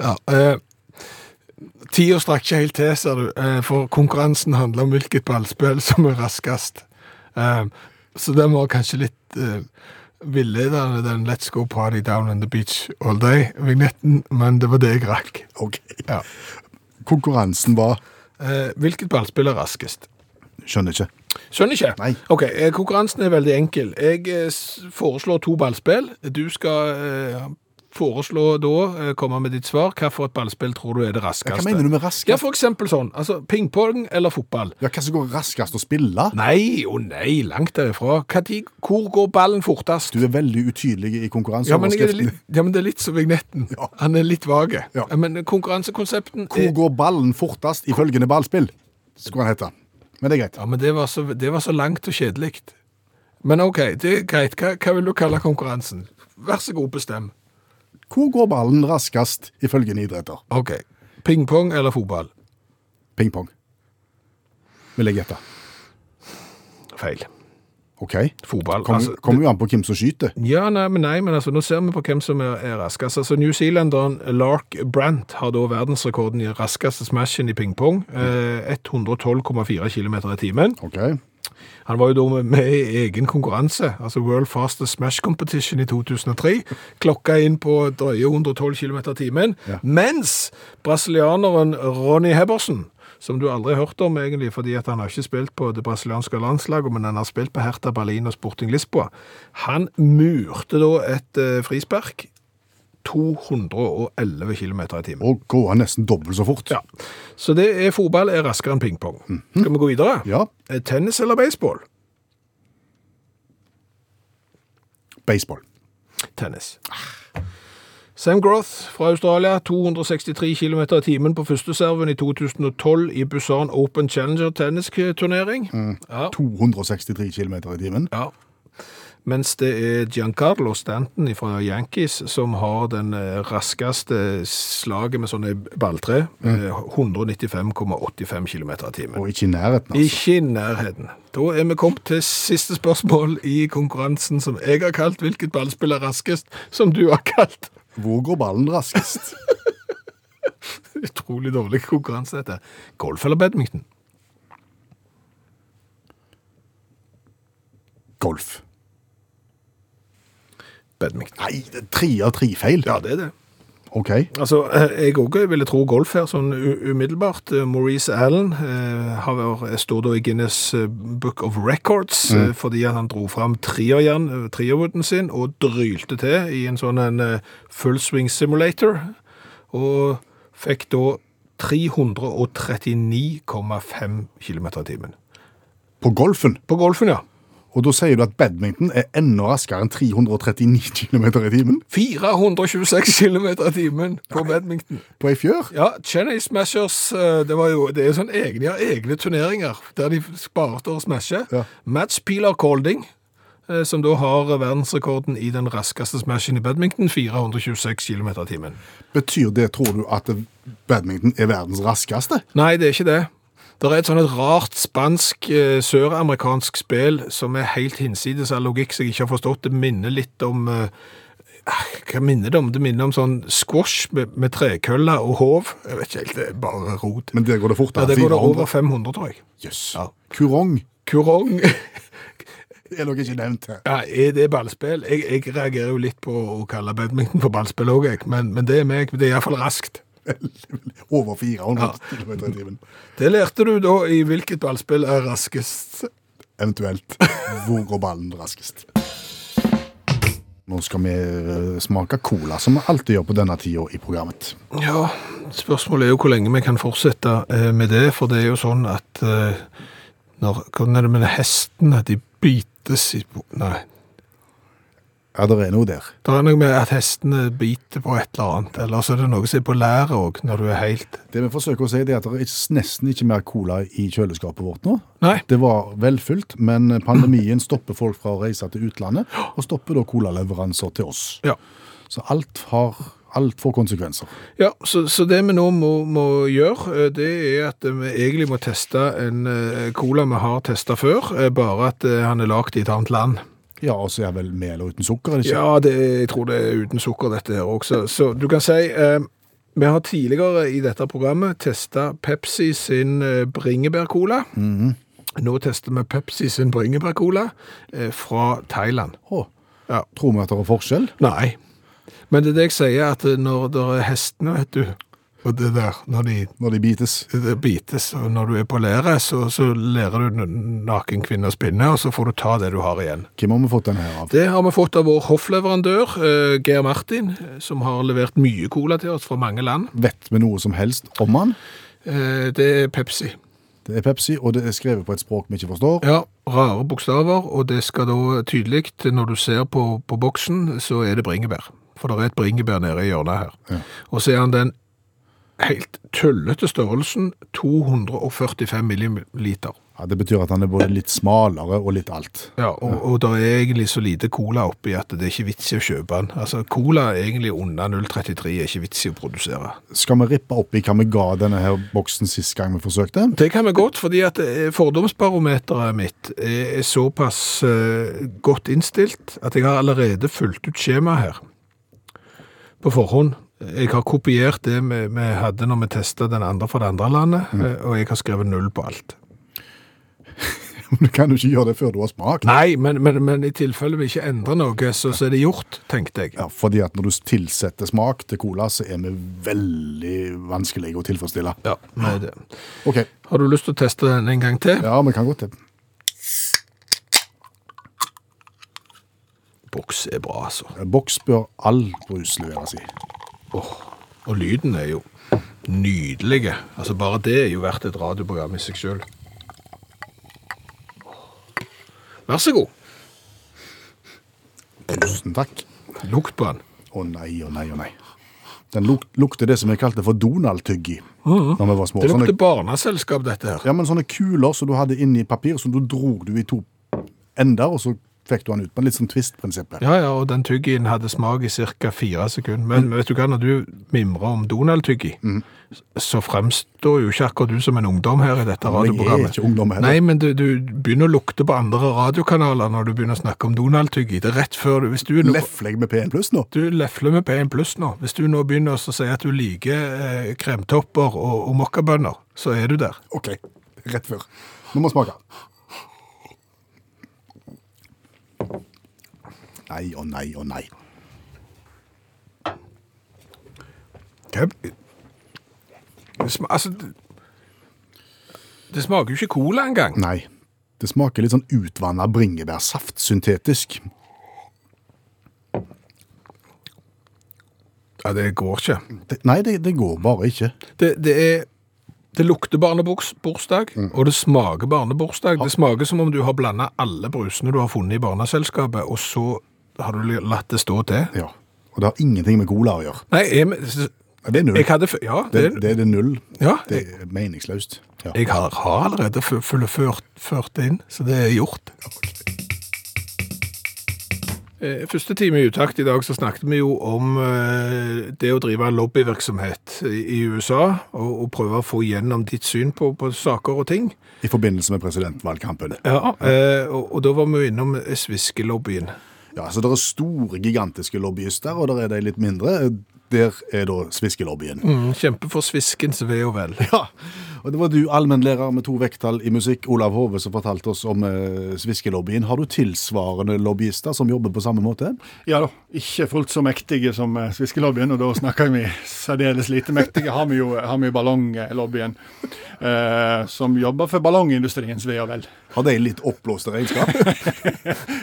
[SPEAKER 2] Ja, eh, Tida strakk ikke helt til, ser du, eh, for konkurransen handler om hvilket ballspill som er raskest. Eh, så den var kanskje litt eh, villedende, den Let's go party down on the beach all day-vignetten, men det var det jeg rakk.
[SPEAKER 3] Ok.
[SPEAKER 2] Ja.
[SPEAKER 3] Konkurransen var
[SPEAKER 2] Eh, hvilket ballspill er raskest?
[SPEAKER 3] Skjønner ikke.
[SPEAKER 2] Skjønner ikke.
[SPEAKER 3] Nei.
[SPEAKER 2] Ok, eh, Konkurransen er veldig enkel. Jeg eh, s- foreslår to ballspill. Du skal eh, foreslå da, eh, komme med ditt svar, hvilket ballspill tror du er det raskeste?
[SPEAKER 3] Hva mener du med
[SPEAKER 2] Ja,
[SPEAKER 3] raskest?
[SPEAKER 2] for eksempel sånn. Altså, Pingpong eller fotball?
[SPEAKER 3] Ja, hva som går raskest å spille?
[SPEAKER 2] Nei og nei, langt derifra. Hva tid, hvor går ballen fortest?
[SPEAKER 3] Du er veldig
[SPEAKER 2] ja,
[SPEAKER 3] utydelig i
[SPEAKER 2] men jeg er
[SPEAKER 3] konkurranseoverskriften.
[SPEAKER 2] litt, ja, men det er litt som vignetten.
[SPEAKER 3] Ja.
[SPEAKER 2] Han er litt vage.
[SPEAKER 3] Ja.
[SPEAKER 2] Men konkurransekonsepten
[SPEAKER 3] Hvor
[SPEAKER 2] er-
[SPEAKER 3] går ballen fortest i følgende ballspill? Skulle han hete. Men det er greit.
[SPEAKER 2] Ja, men det var så, det var så langt og kjedelig. Men OK, det er greit. Hva, hva vil du kalle konkurransen? Vær så god, bestem.
[SPEAKER 3] Hvor går ballen raskest ifølge en idretter?
[SPEAKER 2] OK. Pingpong eller fotball?
[SPEAKER 3] Pingpong. Vil jeg gjette.
[SPEAKER 2] Feil.
[SPEAKER 3] OK.
[SPEAKER 2] Fotball.
[SPEAKER 3] Kommer
[SPEAKER 2] altså,
[SPEAKER 3] kommer jo an på hvem som skyter.
[SPEAKER 2] Ja, nei, men nei, men altså, nå ser vi på hvem som er, er raskest. Altså, New Zealanderen Lark Brant har da verdensrekorden i raskeste smashen i pingpong. Eh, 112,4 km i timen.
[SPEAKER 3] OK.
[SPEAKER 2] Han var jo da med- med i egen konkurranse, altså World Fastest Smash Competition i 2003. Klokka inn på drøye 112 km i timen.
[SPEAKER 3] Ja.
[SPEAKER 2] Mens brasilianeren Ronny Hebbersen, som du aldri har hørt om egentlig, fordi at han har ikke spilt på det brasilianske landslaget, men han har spilt på Hertha Berlin og Sporting Lisboa, han murte da et eh, frispark 211 km i timen.
[SPEAKER 3] Og går nesten dobbelt så fort.
[SPEAKER 2] Ja. Så det er fotball er raskere enn pingpong. Skal vi gå videre?
[SPEAKER 3] Mhm. Ja.
[SPEAKER 2] Eh, Tennis eller baseball?
[SPEAKER 3] Baseball.
[SPEAKER 2] tennis. Sam Groth fra Australia, 263 km i timen på første serven i 2012 i Busan Open Challenger tennisturnering. Ja.
[SPEAKER 3] 263 km i timen.
[SPEAKER 2] ja. Mens det er Giancarlo Stanton fra Yankees som har den eh, raskeste slaget med sånne balltre. eh, 195,85 km i timen.
[SPEAKER 3] Og ikke i nærheten, altså.
[SPEAKER 2] Ikke i nærheten. Da er vi kommet til siste spørsmål i konkurransen som jeg har kalt 'Hvilket ballspill er raskest?', som du har kalt
[SPEAKER 3] Hvor går ballen raskest?
[SPEAKER 2] Utrolig dårlig konkurranse, dette. Golf eller badminton?
[SPEAKER 3] Golf.
[SPEAKER 2] Badminton.
[SPEAKER 3] Nei, det er tre av tre feil.
[SPEAKER 2] Ja, det er det.
[SPEAKER 3] OK.
[SPEAKER 2] Altså, eh, jeg òg ville tro golf her, sånn u- umiddelbart. Eh, Maurice Allen eh, har, vært- står da i Guinness eh, Book of Records eh, fordi at han dro fram trierjern- eh, trierwooden sin og drylte til i en sånn en eh, full swing simulator, og fikk da 339,5 km i timen.
[SPEAKER 3] På golfen.
[SPEAKER 2] På golfen, ja.
[SPEAKER 3] Og da sier du at badminton er enda raskere enn 339 km i timen
[SPEAKER 2] 426 km i timen på badminton.
[SPEAKER 3] på ei fjør?
[SPEAKER 2] Ja, Chennai Smashers eh, Det, var jo, det er jo sånn egne, de har egne turneringer der de sparte å smashe.
[SPEAKER 3] Ja.
[SPEAKER 2] Mats Pilar Colding, eh, som da har verdensrekorden i den raskeste smashen i badminton, 426 km i timen.
[SPEAKER 3] Betyr det, tror du, at badminton er verdens raskeste?
[SPEAKER 2] Nei, det er ikke det. Det er et sånn et rart spansk, eh, søramerikansk spill som er helt hinsides all logikk som jeg ikke har forstått. Det minner litt om eh, ah, Hva minner det om? Det minner om sånn squash med, med trekøller og hov. Jeg vet ikke helt, det er bare rot.
[SPEAKER 3] Men der går det
[SPEAKER 2] Ja,
[SPEAKER 3] fortere.
[SPEAKER 2] det går det
[SPEAKER 3] 400.
[SPEAKER 2] over 500, tror jeg.
[SPEAKER 3] Jøss.
[SPEAKER 2] Ja.
[SPEAKER 3] Kurong
[SPEAKER 2] Kurong
[SPEAKER 3] er nok ikke nevnt her.
[SPEAKER 2] ja, Er det ballspill? Jeg, jeg reagerer jo litt på å kalle badminton for ballspill òg, jeg. Men, men det er meg. Det er iallfall raskt.
[SPEAKER 3] Over 400 km i timen.
[SPEAKER 2] Det lærte du da i hvilket ballspill er raskest.
[SPEAKER 3] Eventuelt hvor går ballen raskest? Nå skal vi eh, smake cola, som vi alltid gjør på denne tida i programmet.
[SPEAKER 2] Ja, spørsmålet er jo hvor lenge vi kan fortsette eh, med det, for det er jo sånn at eh, når, Hvordan er det med hestene? De bites i bo- Nei.
[SPEAKER 3] Ja, det er noe der.
[SPEAKER 2] Det er noe med at hestene biter på et eller annet, eller så er det noe som er på læret òg, når du er helt
[SPEAKER 3] Det vi forsøker å si, det er at det er ikke- nesten ikke mer cola i kjøleskapet vårt nå.
[SPEAKER 2] Nei.
[SPEAKER 3] Det var velfylt, men pandemien stopper folk fra å reise til utlandet, og stopper da colaleveranser til oss.
[SPEAKER 2] Ja.
[SPEAKER 3] Så alt har alt får konsekvenser.
[SPEAKER 2] Ja, så, så det vi nå må, må gjøre, eh, det er at vi egentlig må teste en eh, cola vi har testa før, eh, bare at eh, han er lagd i et annet land.
[SPEAKER 3] Ja, og så er vel mel og uten sukker, er det ikke?
[SPEAKER 2] Ja, det, jeg tror det er uten sukker dette her også. Så du kan si eh, Vi har tidligere i dette programmet testa Pepsi sin eh, bringebærcola. Nå tester vi Pepsi sin bringebærcola eh, fra Thailand.
[SPEAKER 3] Å,
[SPEAKER 2] Ja.
[SPEAKER 3] Tror vi at det er forskjell?
[SPEAKER 2] Nei. Men det er det jeg sier, at eh, når det er hestene, vet du Og det der, når de
[SPEAKER 3] Når de bites?
[SPEAKER 2] det bites, og når du er på læret, så, så lærer du n- naken kvinne å spinne, og så får du ta det du har igjen.
[SPEAKER 3] Hvem har vi fått den her av?
[SPEAKER 2] Det har vi fått av vår hoffleverandør, eh, Geir Martin, eh, som har levert mye cola til oss fra mange land.
[SPEAKER 3] Vet vi noe som helst om han?
[SPEAKER 2] Eh, det er Pepsi.
[SPEAKER 3] Det er Pepsi, og det er skrevet på et språk vi ikke forstår.
[SPEAKER 2] Ja, rare bokstaver, og det skal da tydelig, når du ser på, på boksen, så er det bringebær. For det er et bringebær nede i hjørnet her. Og så er han den helt tullete størrelsen 245 milliliter.
[SPEAKER 3] Ja, det betyr at han er både litt smalere og litt alt.
[SPEAKER 2] Ja, og, og det er egentlig så lite cola oppi at det er ikke vits i å kjøpe den. Altså, Cola er egentlig under 0,33, er ikke vits i å produsere.
[SPEAKER 3] Skal vi rippe opp i hva vi ga denne her boksen sist gang vi forsøkte?
[SPEAKER 2] Det kan vi godt, fordi at eh, fordomsbarometeret mitt er såpass eh, godt innstilt at jeg har allerede fulgt ut skjemaet her på forhånd. Jeg har kopiert det vi, vi hadde når vi testa den andre fra det andre landet, eh, og jeg har skrevet null på alt.
[SPEAKER 3] Du kan jo ikke gjøre det før du har smakt.
[SPEAKER 2] Nei, men, men, men i tilfelle vi ikke endrer noe, så, så er det gjort, tenkte jeg.
[SPEAKER 3] Ja, fordi at når du tilsetter smak til cola, så er vi veldig vanskelige å tilfredsstille.
[SPEAKER 2] Ja, med det.
[SPEAKER 3] Ok,
[SPEAKER 2] Har du lyst til å teste den en gang til?
[SPEAKER 3] ja, vi kan godt det.
[SPEAKER 2] Boks er bra, altså.
[SPEAKER 3] Boks bør all brus leveres i.
[SPEAKER 2] Og lyden er jo nydelig. Altså bare det er jo verdt et radioprogram i seg sjøl. Vær så god.
[SPEAKER 3] Tusen takk.
[SPEAKER 2] Lukt på den.
[SPEAKER 3] Å nei, å nei, å nei. Den luk lukter det som vi kalte for Donald-tygg i, når vi var
[SPEAKER 2] Mm.
[SPEAKER 3] små. Sånn
[SPEAKER 2] Det lukter
[SPEAKER 3] Sånne,
[SPEAKER 2] barneselskap, dette her.
[SPEAKER 3] ja, men sånne kuler som du hadde inni papir, som du dro du i to ender, og så fikk du den ut. Men litt sånn twist-prinsippet.
[SPEAKER 2] Ja, ja, og den tyggien hadde smak i ca. fire sekunder. Men
[SPEAKER 3] Mm.
[SPEAKER 2] vet du hva, når du mimrer om Donald-tyggi, så fremstår jo ikke akkurat du som en ungdom her i dette
[SPEAKER 3] men jeg er
[SPEAKER 2] radioprogrammet.
[SPEAKER 3] ikke ungdom heller.
[SPEAKER 2] Nei, men du, du begynner å lukte på andre radiokanaler når du begynner å snakke om Donald-tyggi. Det er rett før du Hvis du er noe-
[SPEAKER 3] Lefler jeg med P1 pluss nå?
[SPEAKER 2] Du lefler med P1 pluss nå. Hvis du nå begynner å si at du liker eh, kremtopper og, og mokkabønner, så er du der.
[SPEAKER 3] Ok, rett før. Nå må vi smake. Nei og nei og nei.
[SPEAKER 2] Hva? Det sma- Altså, det- det smaker jo ikke cola engang.
[SPEAKER 3] Nei. Det smaker litt sånn utvanna bringebærsaft, syntetisk.
[SPEAKER 2] Ja, det går ikke.
[SPEAKER 3] Det, nei, det, det går bare ikke.
[SPEAKER 2] Det, det er... Det lukter barnebursdag,
[SPEAKER 3] Mm.
[SPEAKER 2] og det smaker barnebursdag. Det smaker som om du har blandet alle brusene du har funnet i barneselskapet, og så har du latt det stå til.
[SPEAKER 3] Ja. Og det har ingenting med cola å gjøre.
[SPEAKER 2] Nei, jeg,
[SPEAKER 3] Ja, Det er null.
[SPEAKER 2] jeg hadde... f- Ja,
[SPEAKER 3] det, det, er det null.
[SPEAKER 2] Ja,
[SPEAKER 3] Det er meningsløst. Ja.
[SPEAKER 2] Jeg har, har allerede fu- fullført ført det inn, så det er gjort. Eh, Første time i utakt i dag så snakket vi jo om eh, det å drive lobbyvirksomhet i i USA, og, og prøve å få gjennom ditt syn på, på saker og ting.
[SPEAKER 3] I forbindelse med presidentvalgkampen.
[SPEAKER 2] Eh, og, og da var vi jo innom sviskelobbyen.
[SPEAKER 3] Ja, så Det er store, gigantiske lobbyister, og der er de litt mindre. Der er da sviskelobbyen.
[SPEAKER 2] Mm, kjempe for sviskens ve og vel.
[SPEAKER 3] Ja, og det var du, allmennlærer med to vekttall i musikk, Olav Hove, som fortalte oss om eh, sviskelobbyen. Har du tilsvarende lobbyister som jobber på samme måte?
[SPEAKER 5] Ja da, ikke fullt så mektige som eh, sviskelobbyen, og da snakker vi særdeles lite mektige. Har vi jo, eh, har vi jo ballonglobbyen, eh, som jobber for ballongindustriens ve og vel.
[SPEAKER 3] Har de litt oppblåste regnskap?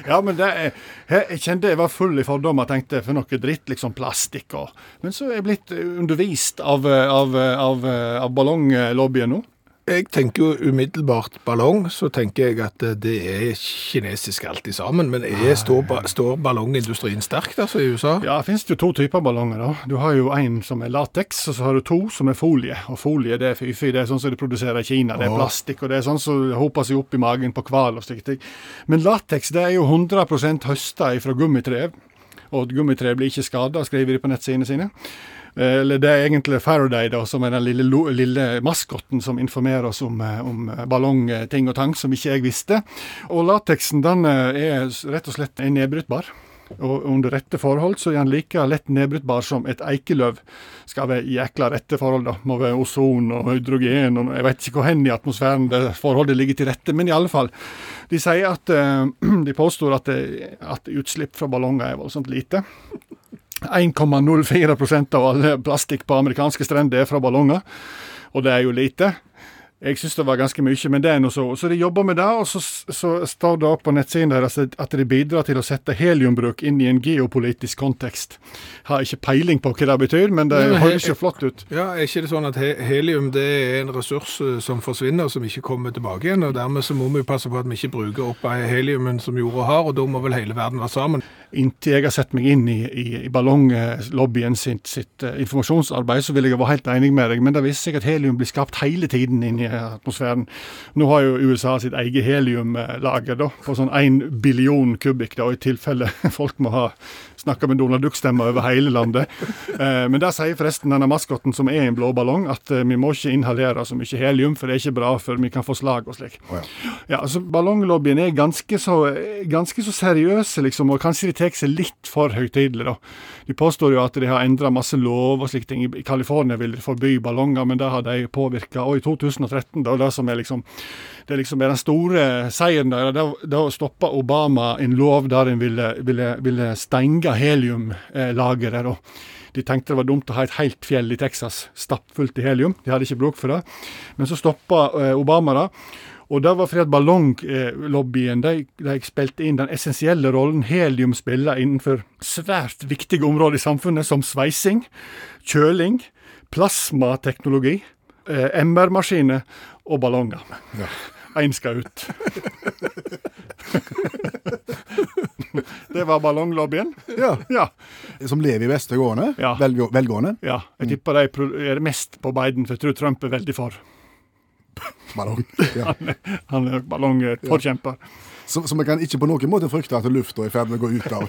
[SPEAKER 5] Ja, men det er, jeg, jeg kjente jeg var full i fordommer, tenkte for noe dritt, liksom plastikk og Men så er jeg blitt eh, undervist av, eh, av, eh, av, eh, av ballonglobbyen nå.
[SPEAKER 2] Jeg tenker jo umiddelbart ballong, så tenker jeg at eh, det er kinesisk alt i sammen. Men er, står, ba- står ballongindustrien sterkt altså i USA?
[SPEAKER 5] Ja, det finnes jo to typer ballonger. da. Du har jo en som er lateks, og så har du to som er folie. Og folie det er fyfy, det er sånn som de produserer i Kina. Det er plastikk, og det er sånn som hoper seg opp i magen på hval og slike ting. Men lateks det er jo 100 høsta fra gummitrev. Og at gummitreet blir ikke skada, skriver de på nettsidene sine. Eh, Eller det er egentlig Faraday, da, som er den lille, lo- lille maskotten som informerer oss om, eh, om eh, ballongting og tang, som ikke jeg visste. Og lateksen den eh, er s- rett og slett er nedbrytbar. Og under rette forhold så er den like lett nedbrytbar som et eikeløv. Skal være jækla rette forhold, da. Må være ozon og hydrogen og jeg vet ikke hvor hen i atmosfæren det forholdet ligger til rette, men i alle fall. De sier at eh, De påstår at, eh, at utslipp fra ballonger er voldsomt lite. 1,04 av alle plastikk på amerikanske strender er fra ballonger, og det er jo lite. Jeg syns det var ganske mye, men det er nå så. Så de jobber med det, og så, så står det opp på nettsiden deres at de bidrar til å sette heliumbruk inn i en geopolitisk kontekst. Har ikke peiling på hva det betyr, men det
[SPEAKER 2] Nei, men he-
[SPEAKER 5] høres jo flott ut.
[SPEAKER 2] Ja, Er ikke det sånn at he helium det er en ressurs eh, som forsvinner, som ikke kommer tilbake igjen? og Dermed så må vi jo passe på at vi ikke bruker opp av heliumen som jorda har, og da må vel hele verden være sammen.
[SPEAKER 5] Inntil jeg har sett meg inn i, i, i ballonglobbyen sitt, sitt eh, informasjonsarbeid, så vil jeg være helt enig med deg, men det viser seg at helium blir skapt hele tiden inni atmosfæren. Nå har jo USA sitt eget heliumlager, da, på sånn én billion kubikk, da, i tilfelle folk må ha snakka med Donald Duck-stemmer over hele landet. Eh, men der sier forresten denne maskotten, som er en blå ballong, at eh, vi må ikke inhalere så mye helium, for det er ikke bra før vi kan få slag og slik.
[SPEAKER 3] Å ja.
[SPEAKER 5] Ja, altså Ballonglobbyen er ganske så, ganske så seriøse, liksom, og kanskje de tar seg litt for høytidelig, da. De påstår jo at de har endra masse lov og slike ting. I- I California vil de forby ballonger, men det har de påvirka. Og i 2013, da, det som er liksom det liksom er den store seieren der, da, da stoppa Obama en lov der en ville, ville, ville stenge heliumlageret, da. De tenkte det var dumt å ha et helt fjell i Texas stappfullt i helium. De hadde ikke bruk for det. Men så stoppa eh, Obama det. Og det var fordi at ballonglobbyen de, de spilte inn den essensielle rollen helium spiller innenfor svært viktige områder i samfunnet, som sveising, kjøling, plasmateknologi, eh, MR-maskiner og ballonger. Én skal ut. Det var ballonglobbyen.
[SPEAKER 3] Ja.
[SPEAKER 5] Ja.
[SPEAKER 3] Som lever i beste gående.
[SPEAKER 5] Ja.
[SPEAKER 3] Velgå- velgående.
[SPEAKER 5] ja. Jeg tipper de pro- er mest på Biden, for jeg tror Trump er veldig for.
[SPEAKER 3] Ballong. Ja.
[SPEAKER 5] Han er ballongforkjemper.
[SPEAKER 3] Så, så vi kan ikke på noen måte frykte at lufta er i ferd med å gå ut av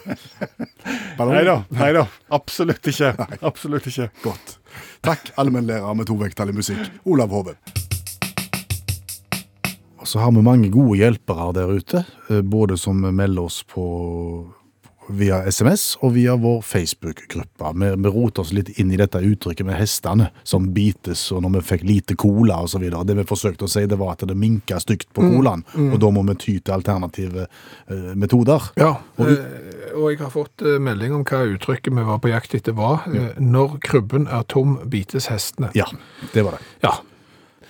[SPEAKER 3] ballongen.
[SPEAKER 5] Nei da, nei da. Absolutt ikke. Absolutt ikke.
[SPEAKER 3] Godt. Takk, allmennlærer med to vekttall i musikk, Olav Hove. Og så har vi mange gode hjelpere der ute, eh, både som melder oss på via SMS og via vår Facebook-gruppe. Vi, vi roter oss litt inn i dette uttrykket med hestene som bites, og når vi fikk lite cola osv. Det vi forsøkte å si, det var at det minka stygt på colaen, og da må vi ty til alternative eh, metoder.
[SPEAKER 2] Ja,
[SPEAKER 3] Og vi-
[SPEAKER 2] eh, og jeg har fått eh, melding om hva uttrykket vi var på jakt etter var. eh, Når krybben er tom, bites hestene.
[SPEAKER 3] Ja, det var det.
[SPEAKER 2] Ja,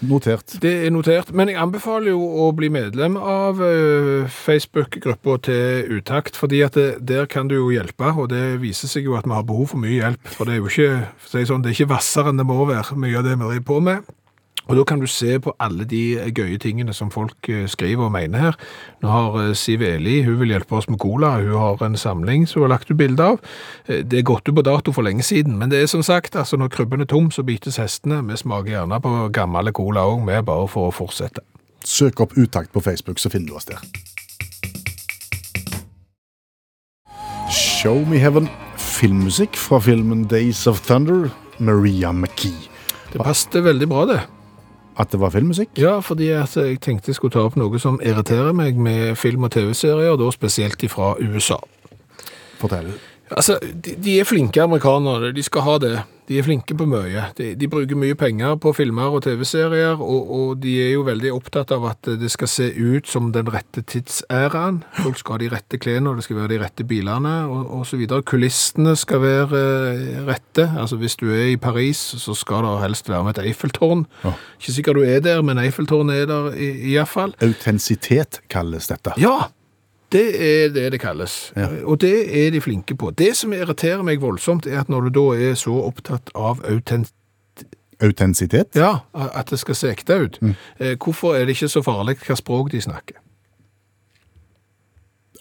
[SPEAKER 3] Notert.
[SPEAKER 2] Det er notert, men jeg anbefaler jo å bli medlem av eh, Facebook-gruppa til Utakt, fordi at det, der kan du jo hjelpe, og det viser seg jo at vi har behov for mye hjelp, for det er jo ikke, for å si det sånn, det er ikke vassere enn det må være, mye av det vi driver på med. Og da kan du se på alle de eh, gøye tingene som folk eh, skriver og mener her. Nå har eh, Siv Eli, hun vil hjelpe oss med cola, hun har en samling som hun har lagt ut bilde av. Eh, Det er gått ut på dato for lenge siden, men det er som sagt, altså når krybben er tom, så bites hestene. Vi smaker gjerne på gammel cola òg, vi, bare for å fortsette.
[SPEAKER 3] Søk opp Utakt på Facebook, så finner du oss der. Show Me Heaven. Filmmusikk fra filmen Days of Thunder. Maria McKee.
[SPEAKER 2] Det passet veldig bra, det.
[SPEAKER 3] At det var filmmusikk?
[SPEAKER 2] Ja, fordi at jeg tenkte jeg skulle ta opp noe som irriterer meg med film- og TV-serier, da spesielt fra USA.
[SPEAKER 3] Fortell.
[SPEAKER 2] Altså, de, de er flinke amerikanere, de skal ha det. De er flinke på mye. De, de bruker mye penger på filmer og TV-serier, og, og de er jo veldig opptatt av at det skal se ut som den rette tidsæraen. Folk skal ha de rette klærne, og det skal være de rette bilene, og, og så videre. Kulissene skal være eh, rette. Altså, hvis du er i Paris, så skal det helst være med et Eiffeltårn.
[SPEAKER 3] Ja.
[SPEAKER 2] Ikke sikkert du er der, men Eiffeltårnet er der i, i hvert fall.
[SPEAKER 3] Autentisitet kalles dette.
[SPEAKER 2] Ja, det er det det kalles.
[SPEAKER 3] Ja.
[SPEAKER 2] Og det er de flinke på. Det som irriterer meg voldsomt, er at når du da er så opptatt av autent...
[SPEAKER 3] Autentisitet?
[SPEAKER 2] Ja, at det skal se ekte ut. eh, Hvorfor er det ikke så farlig hva språk de snakker?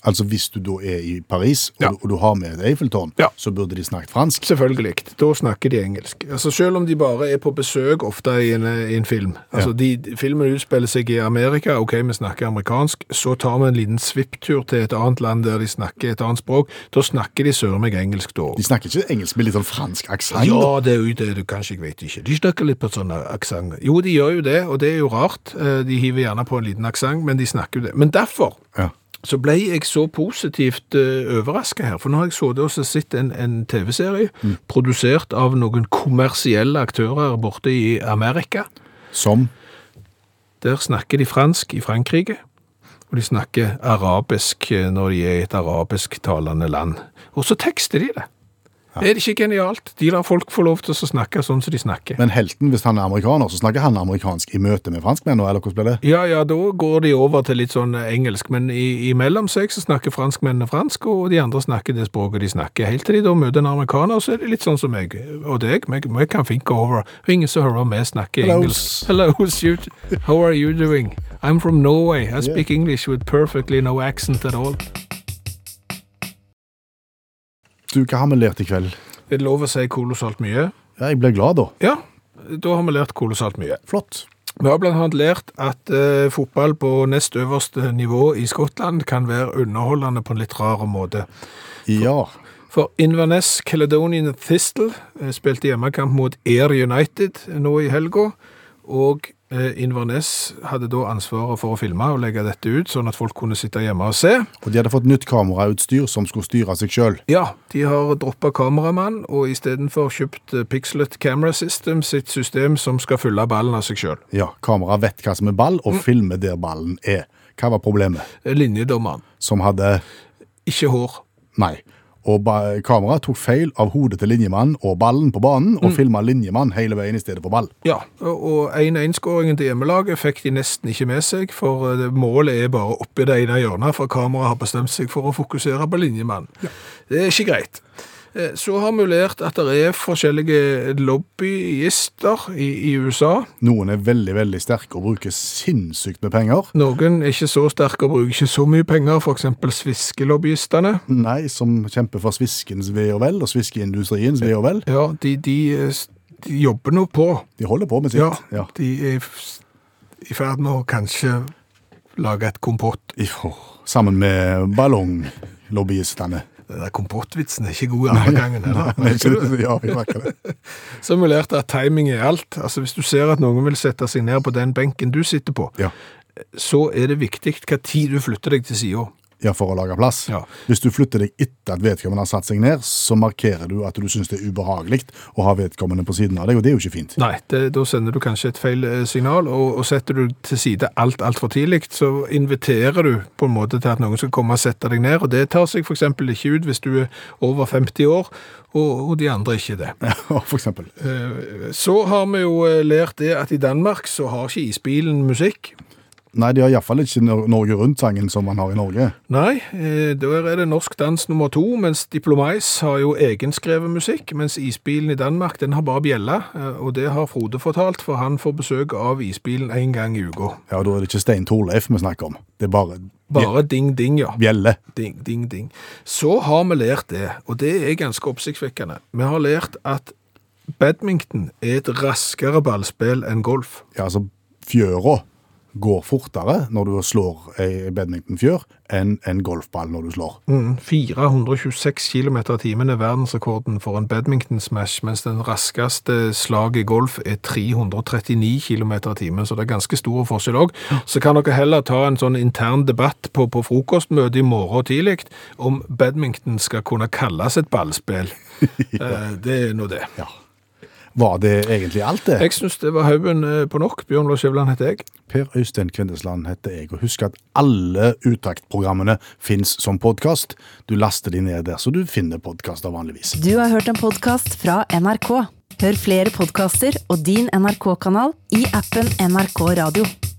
[SPEAKER 3] Altså hvis du da er i Paris, og,
[SPEAKER 2] Ja.
[SPEAKER 3] du, og du har med et Eiffeltårn,
[SPEAKER 2] Ja.
[SPEAKER 3] så burde de snakket fransk.
[SPEAKER 2] Selvfølgelig. Da snakker de engelsk. Altså Selv om de bare er på besøk ofte i en, i en film. Altså de, Filmen utspiller seg i Amerika, ok, vi snakker amerikansk. Så tar vi en liten svipptur til et annet land der de snakker et annet språk. Da snakker de søren meg engelsk da.
[SPEAKER 3] De snakker ikke engelsk med litt sånn fransk aksent.
[SPEAKER 2] Ja, det er jo det, du kanskje jeg vet ikke. De snakker litt på sånn aksent. Jo, de gjør jo det, og det er jo rart. Eh, De hiver gjerne på en liten aksent, men de snakker jo det. Men derfor
[SPEAKER 3] Ja.
[SPEAKER 2] så ble jeg så positivt uh, overraska her, for nå har jeg sittet og sett en, en TV-serie produsert av noen kommersielle aktører borte i Amerika.
[SPEAKER 3] Som
[SPEAKER 2] Der snakker de fransk i Frankrike, og de snakker arabisk eh, når de er i et arabisktalende land. Og så tekster de det. Er det ikke genialt? De lar folk få lov til å snakke sånn som de snakker.
[SPEAKER 3] Men helten, hvis han er amerikaner, så snakker han amerikansk i møte med franskmennene, eller hvordan blir det?
[SPEAKER 2] Ja, ja, da går de over til litt sånn engelsk, men i, imellom seg så snakker franskmennene fransk, og de andre snakker det språket de snakker. Helt til de da møter en amerikaner, så er det litt sånn som meg og deg. Vi vi kan think over. Og ingen som hører meg snakke
[SPEAKER 3] Hello.
[SPEAKER 2] engelsk. Hello, shoot. How are you doing? I'm from Norway. I speak English with perfectly no accent at all.
[SPEAKER 3] Du, hva har vi lært i kveld?
[SPEAKER 2] Er det lov å si kolossalt mye?
[SPEAKER 3] Ja, jeg ble glad da.
[SPEAKER 2] Ja, da har vi lært kolossalt mye.
[SPEAKER 3] Flott.
[SPEAKER 2] Vi har blant annet lært at eh, fotball på nest øverste nivå i Skottland kan være underholdende på en litt rar måte.
[SPEAKER 3] Ja.
[SPEAKER 2] For Inverness Caledonian Thistle eh, spilte hjemmekamp mot Air United eh, nå i helga, og eh, Inverness hadde da ansvaret for å filme og legge dette ut, sånn at folk kunne sitte hjemme og se.
[SPEAKER 3] Og de hadde fått nytt kamerautstyr som skulle styre seg sjøl.
[SPEAKER 2] Ja, de har droppa kameramann, og istedenfor kjøpt eh, Pixlet Camera System, sitt system som skal fylle ballen av seg sjøl.
[SPEAKER 3] Ja, kameraet vet hva som er ball, og filmer der ballen er. Hva var problemet?
[SPEAKER 2] Eh, Linjedommeren.
[SPEAKER 3] Som hadde
[SPEAKER 2] Ikke hår.
[SPEAKER 3] Nei. Og ba- kameraet tok feil av hodet til linjemannen og ballen på banen, og filma linjemann hele veien i stedet for ball.
[SPEAKER 2] Ja, og 1-1-skåringen til hjemmelaget fikk de nesten ikke med seg, for eh, målet er bare oppi det ene hjørnet, for kameraet har bestemt seg for å fokusere på linjemann. Det er ikke greit. Eh, Så har vi lært at det er forskjellige lobbyister i, i USA.
[SPEAKER 3] Noen er veldig, veldig sterke og bruker sinnssykt med penger.
[SPEAKER 2] Noen er ikke så sterke og bruker ikke så mye penger, for eksempel sviskelobbyisterne.
[SPEAKER 3] Nei, som kjemper for sviskens ve og vel, og sviskeindustriens ve og vel.
[SPEAKER 2] Ja, de, de, eh, s- de jobber nå på.
[SPEAKER 3] De holder på med
[SPEAKER 2] Ja,
[SPEAKER 3] sitt. Ja.
[SPEAKER 2] de er f- s- i ferd med å kanskje lage et kompott.
[SPEAKER 3] Jo, Sammen med ballonglobbyistene.
[SPEAKER 2] Den der kompottvitsen er ikke god andre gangen heller.
[SPEAKER 3] Men ikke det- Ja, vi merker det.
[SPEAKER 2] Så har vi lært at timing er alt. Altså Hvis du ser at noen vil sette seg ned på den benken du sitter på,
[SPEAKER 3] Ja.
[SPEAKER 2] så er det viktig hva tid du flytter deg til sida.
[SPEAKER 3] Ja, for å lage plass.
[SPEAKER 2] Ja.
[SPEAKER 3] Hvis du flytter deg etter at vedkommende har satt seg ned, så markerer du at du syns det er ubehagelig å ha vedkommende på siden av deg, og det er jo ikke fint.
[SPEAKER 2] Nei, det, da sender du kanskje et feil eh, signal, og, og setter du til side alt altfor tidlig, så inviterer du på en måte til at noen skal komme og sette deg ned, og det tar seg f.eks. ikke ut hvis du er over 50 år, og, og de andre ikke det.
[SPEAKER 3] For eksempel.
[SPEAKER 2] Eh, Så har vi jo eh, lært det at i Danmark så har ikke isbilen musikk.
[SPEAKER 3] Nei, de har iallfall ikke Nor- Norge Rundt-sangen som man har i Norge.
[SPEAKER 2] Nei, eh, der er det norsk dans nummer to, mens Diplomais har jo egenskrevet musikk, mens isbilen i Danmark den har bare bjella, eh, og det har Frode fortalt, for han får besøk av isbilen en gang i uka.
[SPEAKER 3] Ja, Da er det ikke Stein Torleif vi snakker om, det er bare
[SPEAKER 2] Bare ding, ding, ja.
[SPEAKER 3] bjelle.
[SPEAKER 2] Ding, ding, ding. Så har vi lært det, og det er ganske oppsiktsvekkende. Vi har lært at badminton er et raskere ballspill enn golf.
[SPEAKER 3] Ja, altså, fjøra går fortere når du slår ei badmintonfjør enn en golfball når du slår.
[SPEAKER 2] Mm, 426 km i timen er verdensrekorden for en badminton smash, mens den raskeste slaget i golf er 339 km i timen, så det er ganske stor forskjell òg. Så kan dere heller ta en sånn intern debatt på, på frokostmøtet i morgen tidlig om badminton skal kunne kalles et ballspill. Eh, Det er nå det.
[SPEAKER 3] Var det egentlig alt, det?
[SPEAKER 2] Jeg syns det var haugen eh, på nok. Bjørn Lars Skjæveland heter jeg.
[SPEAKER 3] Per Øystein Kvindesland heter jeg, og husk at alle Utakt-programmene finnes som podkast. Du laster de ned der, så du finner podkaster vanligvis.
[SPEAKER 1] Du har hørt en podkast fra NRK. Hør flere podkaster og din NRK-kanal i appen NRK Radio.